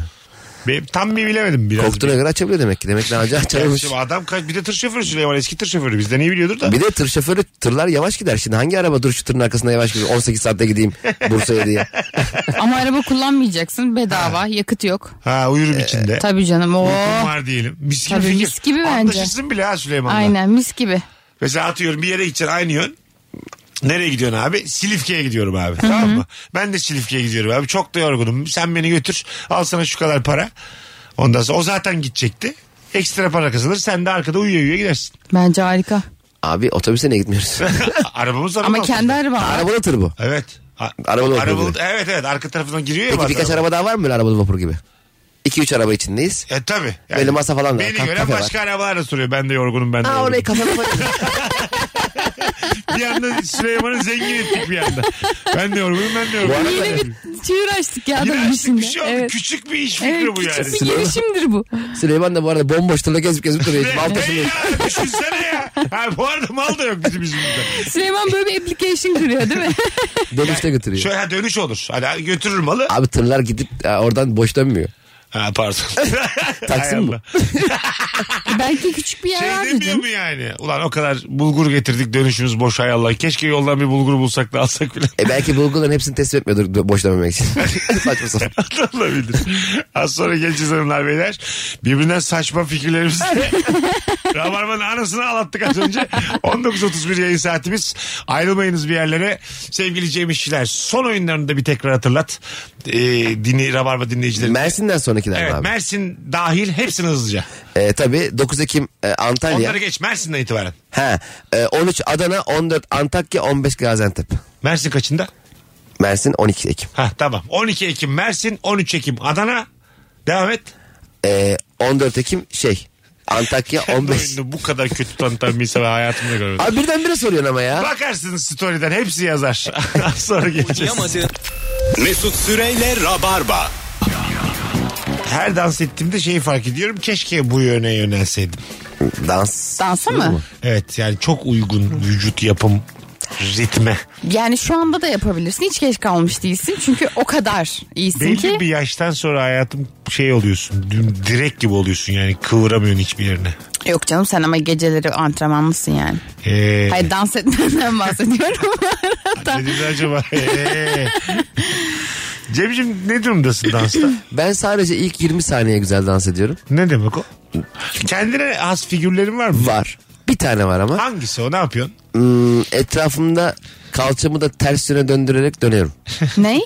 C: Benim, tam bir bilemedim biraz.
D: Korktuğuna göre açabiliyor demek ki. Demek ki daha önce
C: Yani
D: açamamış.
C: şimdi adam kaç bir de tır şoförü Süleyman eski tır şoförü bizden iyi biliyordur da.
D: Bir de tır şoförü tırlar yavaş gider. Şimdi hangi araba dur şu tırın arkasında yavaş gidiyor. 18 saatte gideyim Bursa'ya diye.
E: Ama araba kullanmayacaksın bedava, yakıt yok.
C: Ha uyurum içinde.
E: Ee, Tabii canım oh. o.
C: Uykum var diyelim. Mis gibi
E: Tabii,
C: fikir.
E: mis gibi bence.
C: Anlaşırsın bile ha Süleyman'la.
E: Aynen mis gibi.
C: Mesela atıyorum bir yere gideceksin aynı yön. Nereye gidiyorsun abi? Silifke'ye gidiyorum abi. Tamam mı? Ben de Silifke'ye gidiyorum abi. Çok da yorgunum. Sen beni götür. Al sana şu kadar para. Ondan sonra o zaten gidecekti. Ekstra para kazanır. Sen de arkada uyuyor uyuyor gidersin.
E: Bence harika.
D: Abi otobüse niye gitmiyoruz?
C: Arabamız var.
E: Ama kendi araba. var.
D: Arabalı tır bu.
C: Evet. A-
D: Arabalı vapur
C: arabalı-
D: gibi.
C: evet evet arka tarafından giriyor ya
D: Peki
C: bazen
D: birkaç
C: araba.
D: araba daha var mı böyle arabalı vapur gibi? 2-3 araba içindeyiz.
C: E tabi.
D: Böyle masa falan da var,
C: Beni
D: kaf-
C: gören
D: kafe var.
C: başka arabalar da soruyor. Ben de yorgunum ben de
D: Aa
C: yorgunum.
D: orayı kafana koy.
C: Bir anda Süleyman'ı zengin ettik bir anda. Ben de yorgunum ben de yorgunum.
E: Yine bir çığır açtık ya
C: Yine
E: adamın
C: açtık
E: içinde.
C: bir şey oldu.
E: evet.
C: Küçük bir iş fikri
E: Evet,
C: bu
E: küçük
C: yani.
E: bir girişimdir bu.
D: Süleyman da bu arada bomboş tırla gezip gezip duruyor. Hiç Mal
C: Ne
D: taşımıyor.
C: ya düşünsene ya. Ha, bu arada mal da yok bizim yüzümüzden.
E: Süleyman böyle bir application kırıyor değil mi?
D: Dönüşte götürüyor.
C: Şöyle ha, dönüş olur. Hadi götürür malı.
D: Abi tırlar gidip e, oradan boş dönmüyor.
C: Ha, pardon.
D: Taksim
C: Hay
D: mi?
C: Allah.
E: Belki küçük bir yer
C: Şey
E: vardır
C: demiyor
E: canım.
C: mu yani? Ulan o kadar bulgur getirdik dönüşümüz boş hay Allah. Keşke yoldan bir bulgur bulsak da alsak bile.
D: E belki bulguların hepsini teslim etmiyordur dö- boş dönmemek için. Saçma sapan.
C: Olabilir. Az sonra geleceğiz hanımlar beyler. Birbirinden saçma fikirlerimizle Rabarba'nın anasını ağlattık az önce. 19.31 yayın saatimiz. Ayrılmayınız bir yerlere. Sevgili Cem İşçiler son oyunlarını da bir tekrar hatırlat. Ee, dini, Rabarba dinleyicileri.
D: Mersin'den sonrakiler mi
C: Evet,
D: abi.
C: Mersin dahil hepsini hızlıca.
D: E, tabii 9 Ekim e, Antalya.
C: Onları geç Mersin'den itibaren.
D: Ha, e, 13 Adana, 14 Antakya, 15 Gaziantep.
C: Mersin kaçında?
D: Mersin 12 Ekim.
C: Ha tamam. 12 Ekim Mersin, 13 Ekim Adana. Devam et.
D: E, 14 Ekim şey Antakya
C: Bu
D: 15.
C: oyunu bu kadar kötü tanıtan bir insan ben hayatımda görmedim.
D: Abi birdenbire soruyorsun ama ya.
C: Bakarsınız story'den hepsi yazar. Az sonra geleceğiz.
B: Mesut Süreyle Rabarba.
C: Her dans ettiğimde şeyi fark ediyorum. Keşke bu yöne yönelseydim.
D: Dans.
E: Dansa mı?
C: Evet yani çok uygun vücut yapım ritme.
E: Yani şu anda da yapabilirsin. Hiç geç kalmış değilsin. Çünkü o kadar iyisin
C: Belli
E: ki.
C: bir yaştan sonra hayatım şey oluyorsun. düm- Direkt gibi oluyorsun yani kıvıramıyorsun hiçbir yerine.
E: Yok canım sen ama geceleri antrenmanlısın yani.
C: Ee,
E: Hayır dans etmenden bahsediyorum.
C: ne dedi acaba? Ee. Cemciğim ne durumdasın dansta?
D: Ben sadece ilk 20 saniye güzel dans ediyorum.
C: Ne demek o? Kendine has figürlerin var mı?
D: Var. Bir tane var ama.
C: Hangisi o ne yapıyorsun?
D: Hmm, etrafımda kalçamı da ters yöne döndürerek dönüyorum.
E: Ney?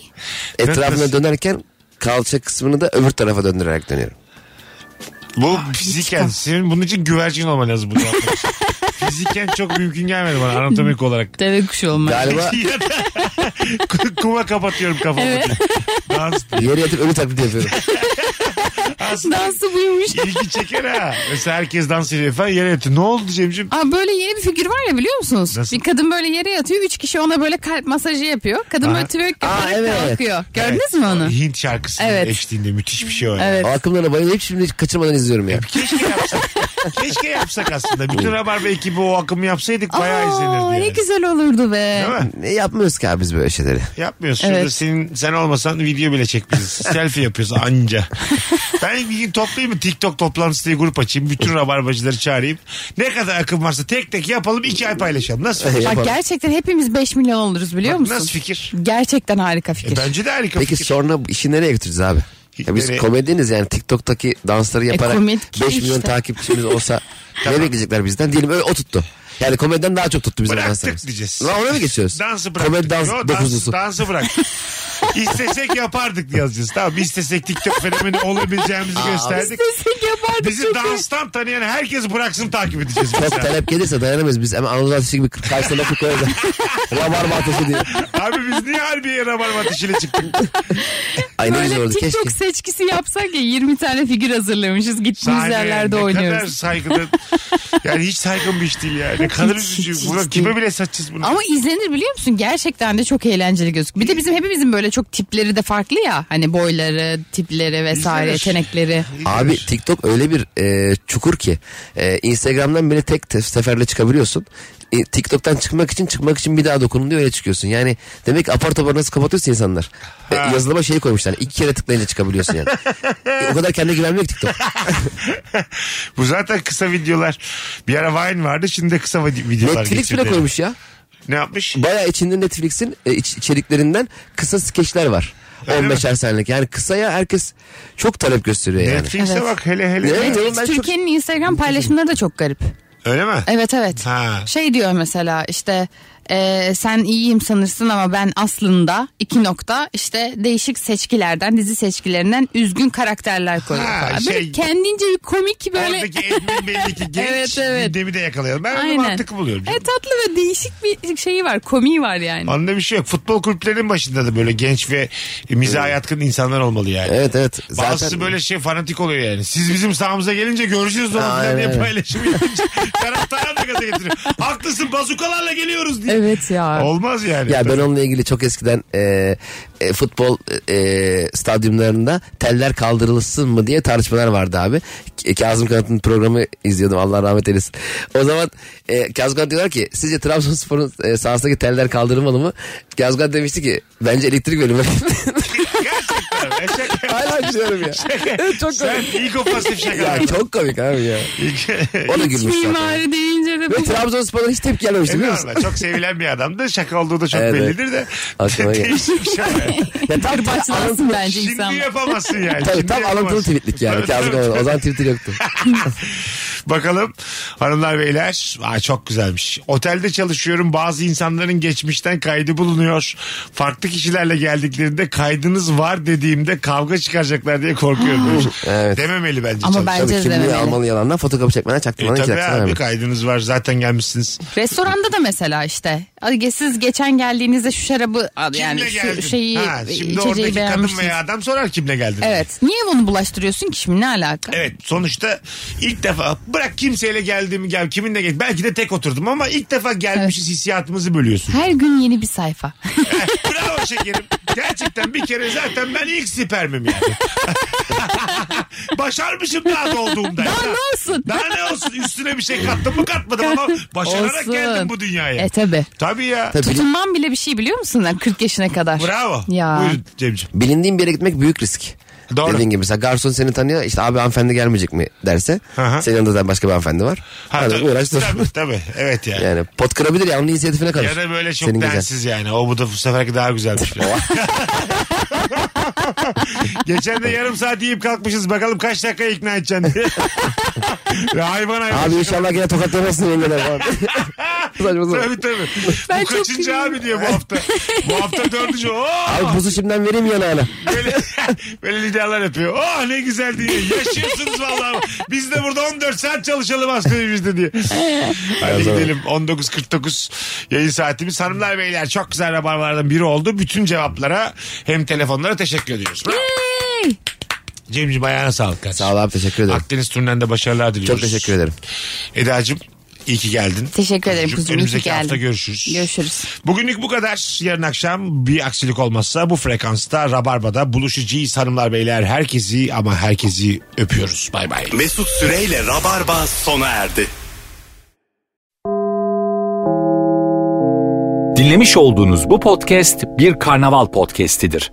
D: Etrafına dönerken kalça kısmını da öbür tarafa döndürerek dönüyorum.
C: Bu fiziken senin bunun için güvercin olman lazım bu cevaplar için. Fiziken çok mümkün gelmedi bana anatomik olarak.
E: Deve kuşu olmak.
D: Galiba
C: Ya da ku- kuma kapatıyorum kafamı. Dans.
D: yere yatıp ölü taklidi yapıyorum.
C: Aslında
E: Dansı buymuş.
C: ilgi çeker ha. Mesela herkes dans ediyor falan yere yatıyor. Ne oldu Cemciğim?
E: Aa, böyle yeni bir figür var ya biliyor musunuz?
C: Nasıl?
E: Bir kadın böyle yere yatıyor. Üç kişi ona böyle kalp masajı yapıyor. Kadın
C: Aha.
E: böyle twerk
D: Aa,
E: yaparak
D: evet.
E: kalkıyor. Gördünüz mü onu?
C: Hint şarkısı
E: Evet.
C: eşliğinde müthiş bir şey o. yani.
E: Evet.
D: O aklımdan bayılıp hep şimdi hiç kaçırmadan izliyorum ya.
C: Keşke yapsak. Keşke yapsak aslında. Bütün Rabarba ekibi o akımı yapsaydık bayağı izlenirdi.
E: Aa, ne
C: yani.
E: güzel olurdu be.
C: Değil mi?
D: Ne yapmıyoruz ki abi biz böyle şeyleri.
C: Yapmıyoruz. Şurada
E: Evet.
C: senin, sen olmasan video bile çekmeyiz. Selfie yapıyoruz anca. ben bir gün toplayayım mı TikTok toplantısı diye grup açayım. Bütün rabarbacıları çağırayım. Ne kadar akım varsa tek tek yapalım. iki ay paylaşalım. Nasıl fikir?
D: Yapalım.
E: Bak gerçekten hepimiz 5 milyon oluruz biliyor
C: Bak,
E: musun?
C: Nasıl fikir?
E: Gerçekten harika
C: E,
E: fikir.
C: bence de harika
D: Peki
C: fikir.
D: sonra bu işi nereye götüreceğiz abi? Ya biz
C: Nereye?
D: komediniz yani TikTok'taki dansları yaparak
E: komik
D: 5 milyon
E: E, işte.
D: takipçimiz olsa ne bekleyecekler bizden? Diyelim öyle o tuttu. Yani komediden daha çok tuttu bizi.
C: Bıraktık
D: dans dans.
C: diyeceğiz.
D: Lan oraya mı geçiyoruz?
C: Dansı bıraktık.
D: Komedi dans
C: Yo,
D: dokuzlusu.
C: dansı bıraktık. İstesek yapardık yazacağız. Tamam istesek TikTok fenomeni olabileceğimizi gösterdik.
E: Sesini yapardık
C: Bizi danstan tanıyan herkes bıraksın takip edeceğiz.
D: Çok
C: mesela.
D: talep gelirse dayanamayız biz. Hemen Anadolu Ateşi gibi karşısına lafı koyarız. Rabarba ateşi diye.
C: Abi biz niye harbiye rabarba ateşiyle çıktık?
D: Ay ne güzel
E: Böyle
D: oldu.
E: TikTok
D: Keşke.
E: seçkisi yapsak ya 20 tane figür hazırlamışız. Gittiğimiz
C: Sahne,
E: yerlerde
C: ne
E: oynuyoruz.
C: kadar saygılı. Yani hiç saygın bir iş değil yani. Ne kadar
E: Hiç, hiç,
C: üzücü.
E: hiç
C: Buna kime
E: değil.
C: bile satacağız bunu?
E: Ama izlenir biliyor musun? Gerçekten de çok eğlenceli gözüküyor. Bir de bizim hepimizin böyle çok tipleri de farklı ya. Hani boyları, tipleri vesaire,
C: İzlenir.
E: yetenekleri.
D: Abi TikTok öyle bir e, çukur ki e, Instagram'dan bile tek te- seferle çıkabiliyorsun. E, TikTok'tan çıkmak için çıkmak için bir daha dokunun diye öyle çıkıyorsun. Yani demek ki apar topar nasıl kapatıyorsa insanlar. E, yazılıma şey koymuşlar. İki kere tıklayınca çıkabiliyorsun yani. E, o kadar kendine güvenmiyor ki TikTok.
C: Bu zaten kısa videolar. Bir ara Vine vardı şimdi de kısa vide- videolar
D: Netflix bile
C: geçirdi.
D: koymuş ya.
C: Ne yapmış?
D: Bayağı içinde Netflix'in e, iç- içeriklerinden kısa skeçler var.
C: Öyle mi?
D: 15'er senelik. Yani kısaya herkes çok talep gösteriyor yani.
C: Netflix'e
E: Evet.
C: bak hele hele.
D: Ne? Evet,
E: Netflix
D: ben çok-
E: Türkiye'nin Instagram paylaşımları da çok garip.
C: Öyle mi?
E: Evet evet.
C: Ha.
E: Şey diyor mesela işte e, sen iyiyim sanırsın ama ben aslında iki nokta işte değişik seçkilerden dizi seçkilerinden üzgün karakterler koyuyor.
C: Ha,
E: falan. Böyle
C: şey-
E: kendince bir komik böyle.
C: Oradaki Edwin belli ki genç
E: Evet, evet.
C: gündemi de yakalayalım. Ben onu mantıklı buluyorum.
E: E, tatlı ve değişik bir şeyi var komiği var yani.
C: Anında bir şey yok. Futbol kulüplerinin başında da böyle genç ve mizaha yatkın insanlar olmalı yani.
D: Evet evet. Zaten
C: Bazısı böyle şey fanatik oluyor yani. Siz bizim sahamıza gelince görüşürüz onu
D: Aynen
C: falan diye
D: öyle.
C: paylaşım yapınca taraftara da gaza getiriyor. Haklısın bazukalarla geliyoruz diye.
E: Evet ya.
C: Olmaz yani.
D: Ya ben onunla ilgili çok eskiden e, e, futbol e, stadyumlarında teller kaldırılsın mı diye tartışmalar vardı abi. K- Kazım Kanat'ın programı izliyordum Allah rahmet eylesin. O zaman e, Kazım Kanat diyorlar ki sizce Trabzonspor'un e, sahasındaki teller kaldırılmalı mı? Kazım Kanat demişti ki bence elektrik bölümü.
C: Gerçekten. Ben şaka-
D: Hala gülüyorum ya. Evet, çok
C: Sen
D: komik.
C: ilk ofansif şaka.
D: ya çok komik abi ya. O da gülmüş zaten.
E: Mimari deyince de
D: Ve Trabzonspor'dan hiç tepki gelmemişti biliyor musun?
C: Eyvallah, çok sevilen bir adamdı. Şaka olduğu da çok
D: Evet,
C: bellidir de.
D: Aklıma geldi.
C: Değişik bir şaka.
D: Ya tam
E: Kırbaçlansın bence
C: Şimdi
E: insan.
C: yapamazsın yani.
D: Tabii
C: Şimdi
D: tam alıntılı
C: yapamazsın.
D: tweetlik yani.
C: Tabii,
D: Kazım
C: tabii.
D: Kanat. O zaman Twitter yoktu.
C: Bakalım hanımlar beyler. Aa, çok güzelmiş. Otelde çalışıyorum. Bazı insanların geçmişten kaydı bulunuyor. Farklı kişilerle geldiklerinde kaydınız var dediğimde kavga çıkaracaklar diye korkuyorum. demiş.
D: Evet.
C: Dememeli bence.
E: Ama
C: çalışan.
E: ben-
D: Tabii
E: Bence de
D: kimliği
E: dememeli.
D: almalı yalandan fotokopi çekmeden
C: E,
D: çaktırmadan iki
C: tabii
D: dakika
C: abi
D: vermeli.
C: kaydınız var zaten gelmişsiniz.
E: Restoranda da mesela işte. Ay, Siz geçen geldiğinizde şu şarabı yani
C: kimle
E: şu
C: geldin?
E: şeyi
C: Ha, şimdi
E: içeceği
C: oradaki kadın
E: beğenmiştiniz.
C: veya adam sorar kimle geldin.
E: Evet. Niye bunu bulaştırıyorsun ki şimdi ne alaka?
C: Evet sonuçta ilk defa bırak kimseyle geldiğimi gel kiminle gel belki de tek oturdum ama ilk defa gelmişiz hissiyatımızı bölüyorsun.
E: Her gün yeni bir sayfa.
C: Bravo şekerim. Gerçekten bir kere zaten ben ilk spermim yani. Başarmışım daha doğduğumda.
E: Daha ne olsun?
C: Daha ne olsun? Üstüne bir şey kattım mı katmadım ama başararak
E: Olsun.
C: geldim bu dünyaya.
E: E tabi.
C: Tabii ya.
D: Tabii.
E: Tutunman bile bir şey biliyor musun lan 40 yaşına kadar?
C: Bravo.
E: Ya.
C: Buyurun Cemciğim.
D: bilindiğin bir yere gitmek büyük risk.
C: Doğru.
D: Dediğin gibi mesela garson seni tanıyor işte abi hanımefendi gelmeyecek mi derse
C: Aha.
D: senin yanında da başka bir hanımefendi var.
C: Ha,
D: Hadi
C: tabii,
D: uğraş dur.
C: Tabii, tabii. Evet yani.
D: Yani pot kırabilir ya onun inisiyatifine kalır.
C: Ya da böyle çok
D: Senin güzel.
C: densiz yani. O bu da bu seferki daha güzelmiş. falan. Geçen de yarım saat yiyip kalkmışız. Bakalım kaç dakika ikna edeceksin diye. Ve hayvan hayvan.
D: Abi inşallah gene tokat yemesin yengeler falan. Saçma sapan.
C: Tabii tabii.
E: Ben
C: bu
E: çok
C: kaçıncı
E: gülüyorum.
C: abi diyor bu hafta. bu hafta dördüncü. Oo!
D: Abi buzu şimdiden vereyim yanağına.
C: Böyle, böyle liderler yapıyor. Oh ne güzel diye. Yaşıyorsunuz vallahi. Biz de burada 14 saat çalışalım askerimiz diye. Hadi gidelim. 19.49 yayın saatimiz. Hanımlar beyler çok güzel rabarlardan biri oldu. Bütün cevaplara hem telefonlara teşekkür ediyoruz. Bravo.
E: Hey!
C: Cemciğim ayağına sağlık. kardeşim.
D: Sağ ol abi teşekkür ederim.
C: Akdeniz turnenden de başarılar
D: Çok
C: diliyoruz.
D: teşekkür ederim.
C: Eda'cığım iyi ki geldin.
E: Teşekkür ederim
C: Kuzucuğum,
E: kuzum. iyi ki
C: Önümüzdeki hafta
E: geldin.
C: görüşürüz.
E: Görüşürüz.
C: Bugünlük bu kadar. Yarın akşam bir aksilik olmazsa bu frekansta Rabarba'da buluşacağız hanımlar beyler. Herkesi ama herkesi öpüyoruz. Bay bay.
B: Mesut Süreyle Rabarba sona erdi.
A: Dinlemiş olduğunuz bu podcast bir karnaval podcastidir.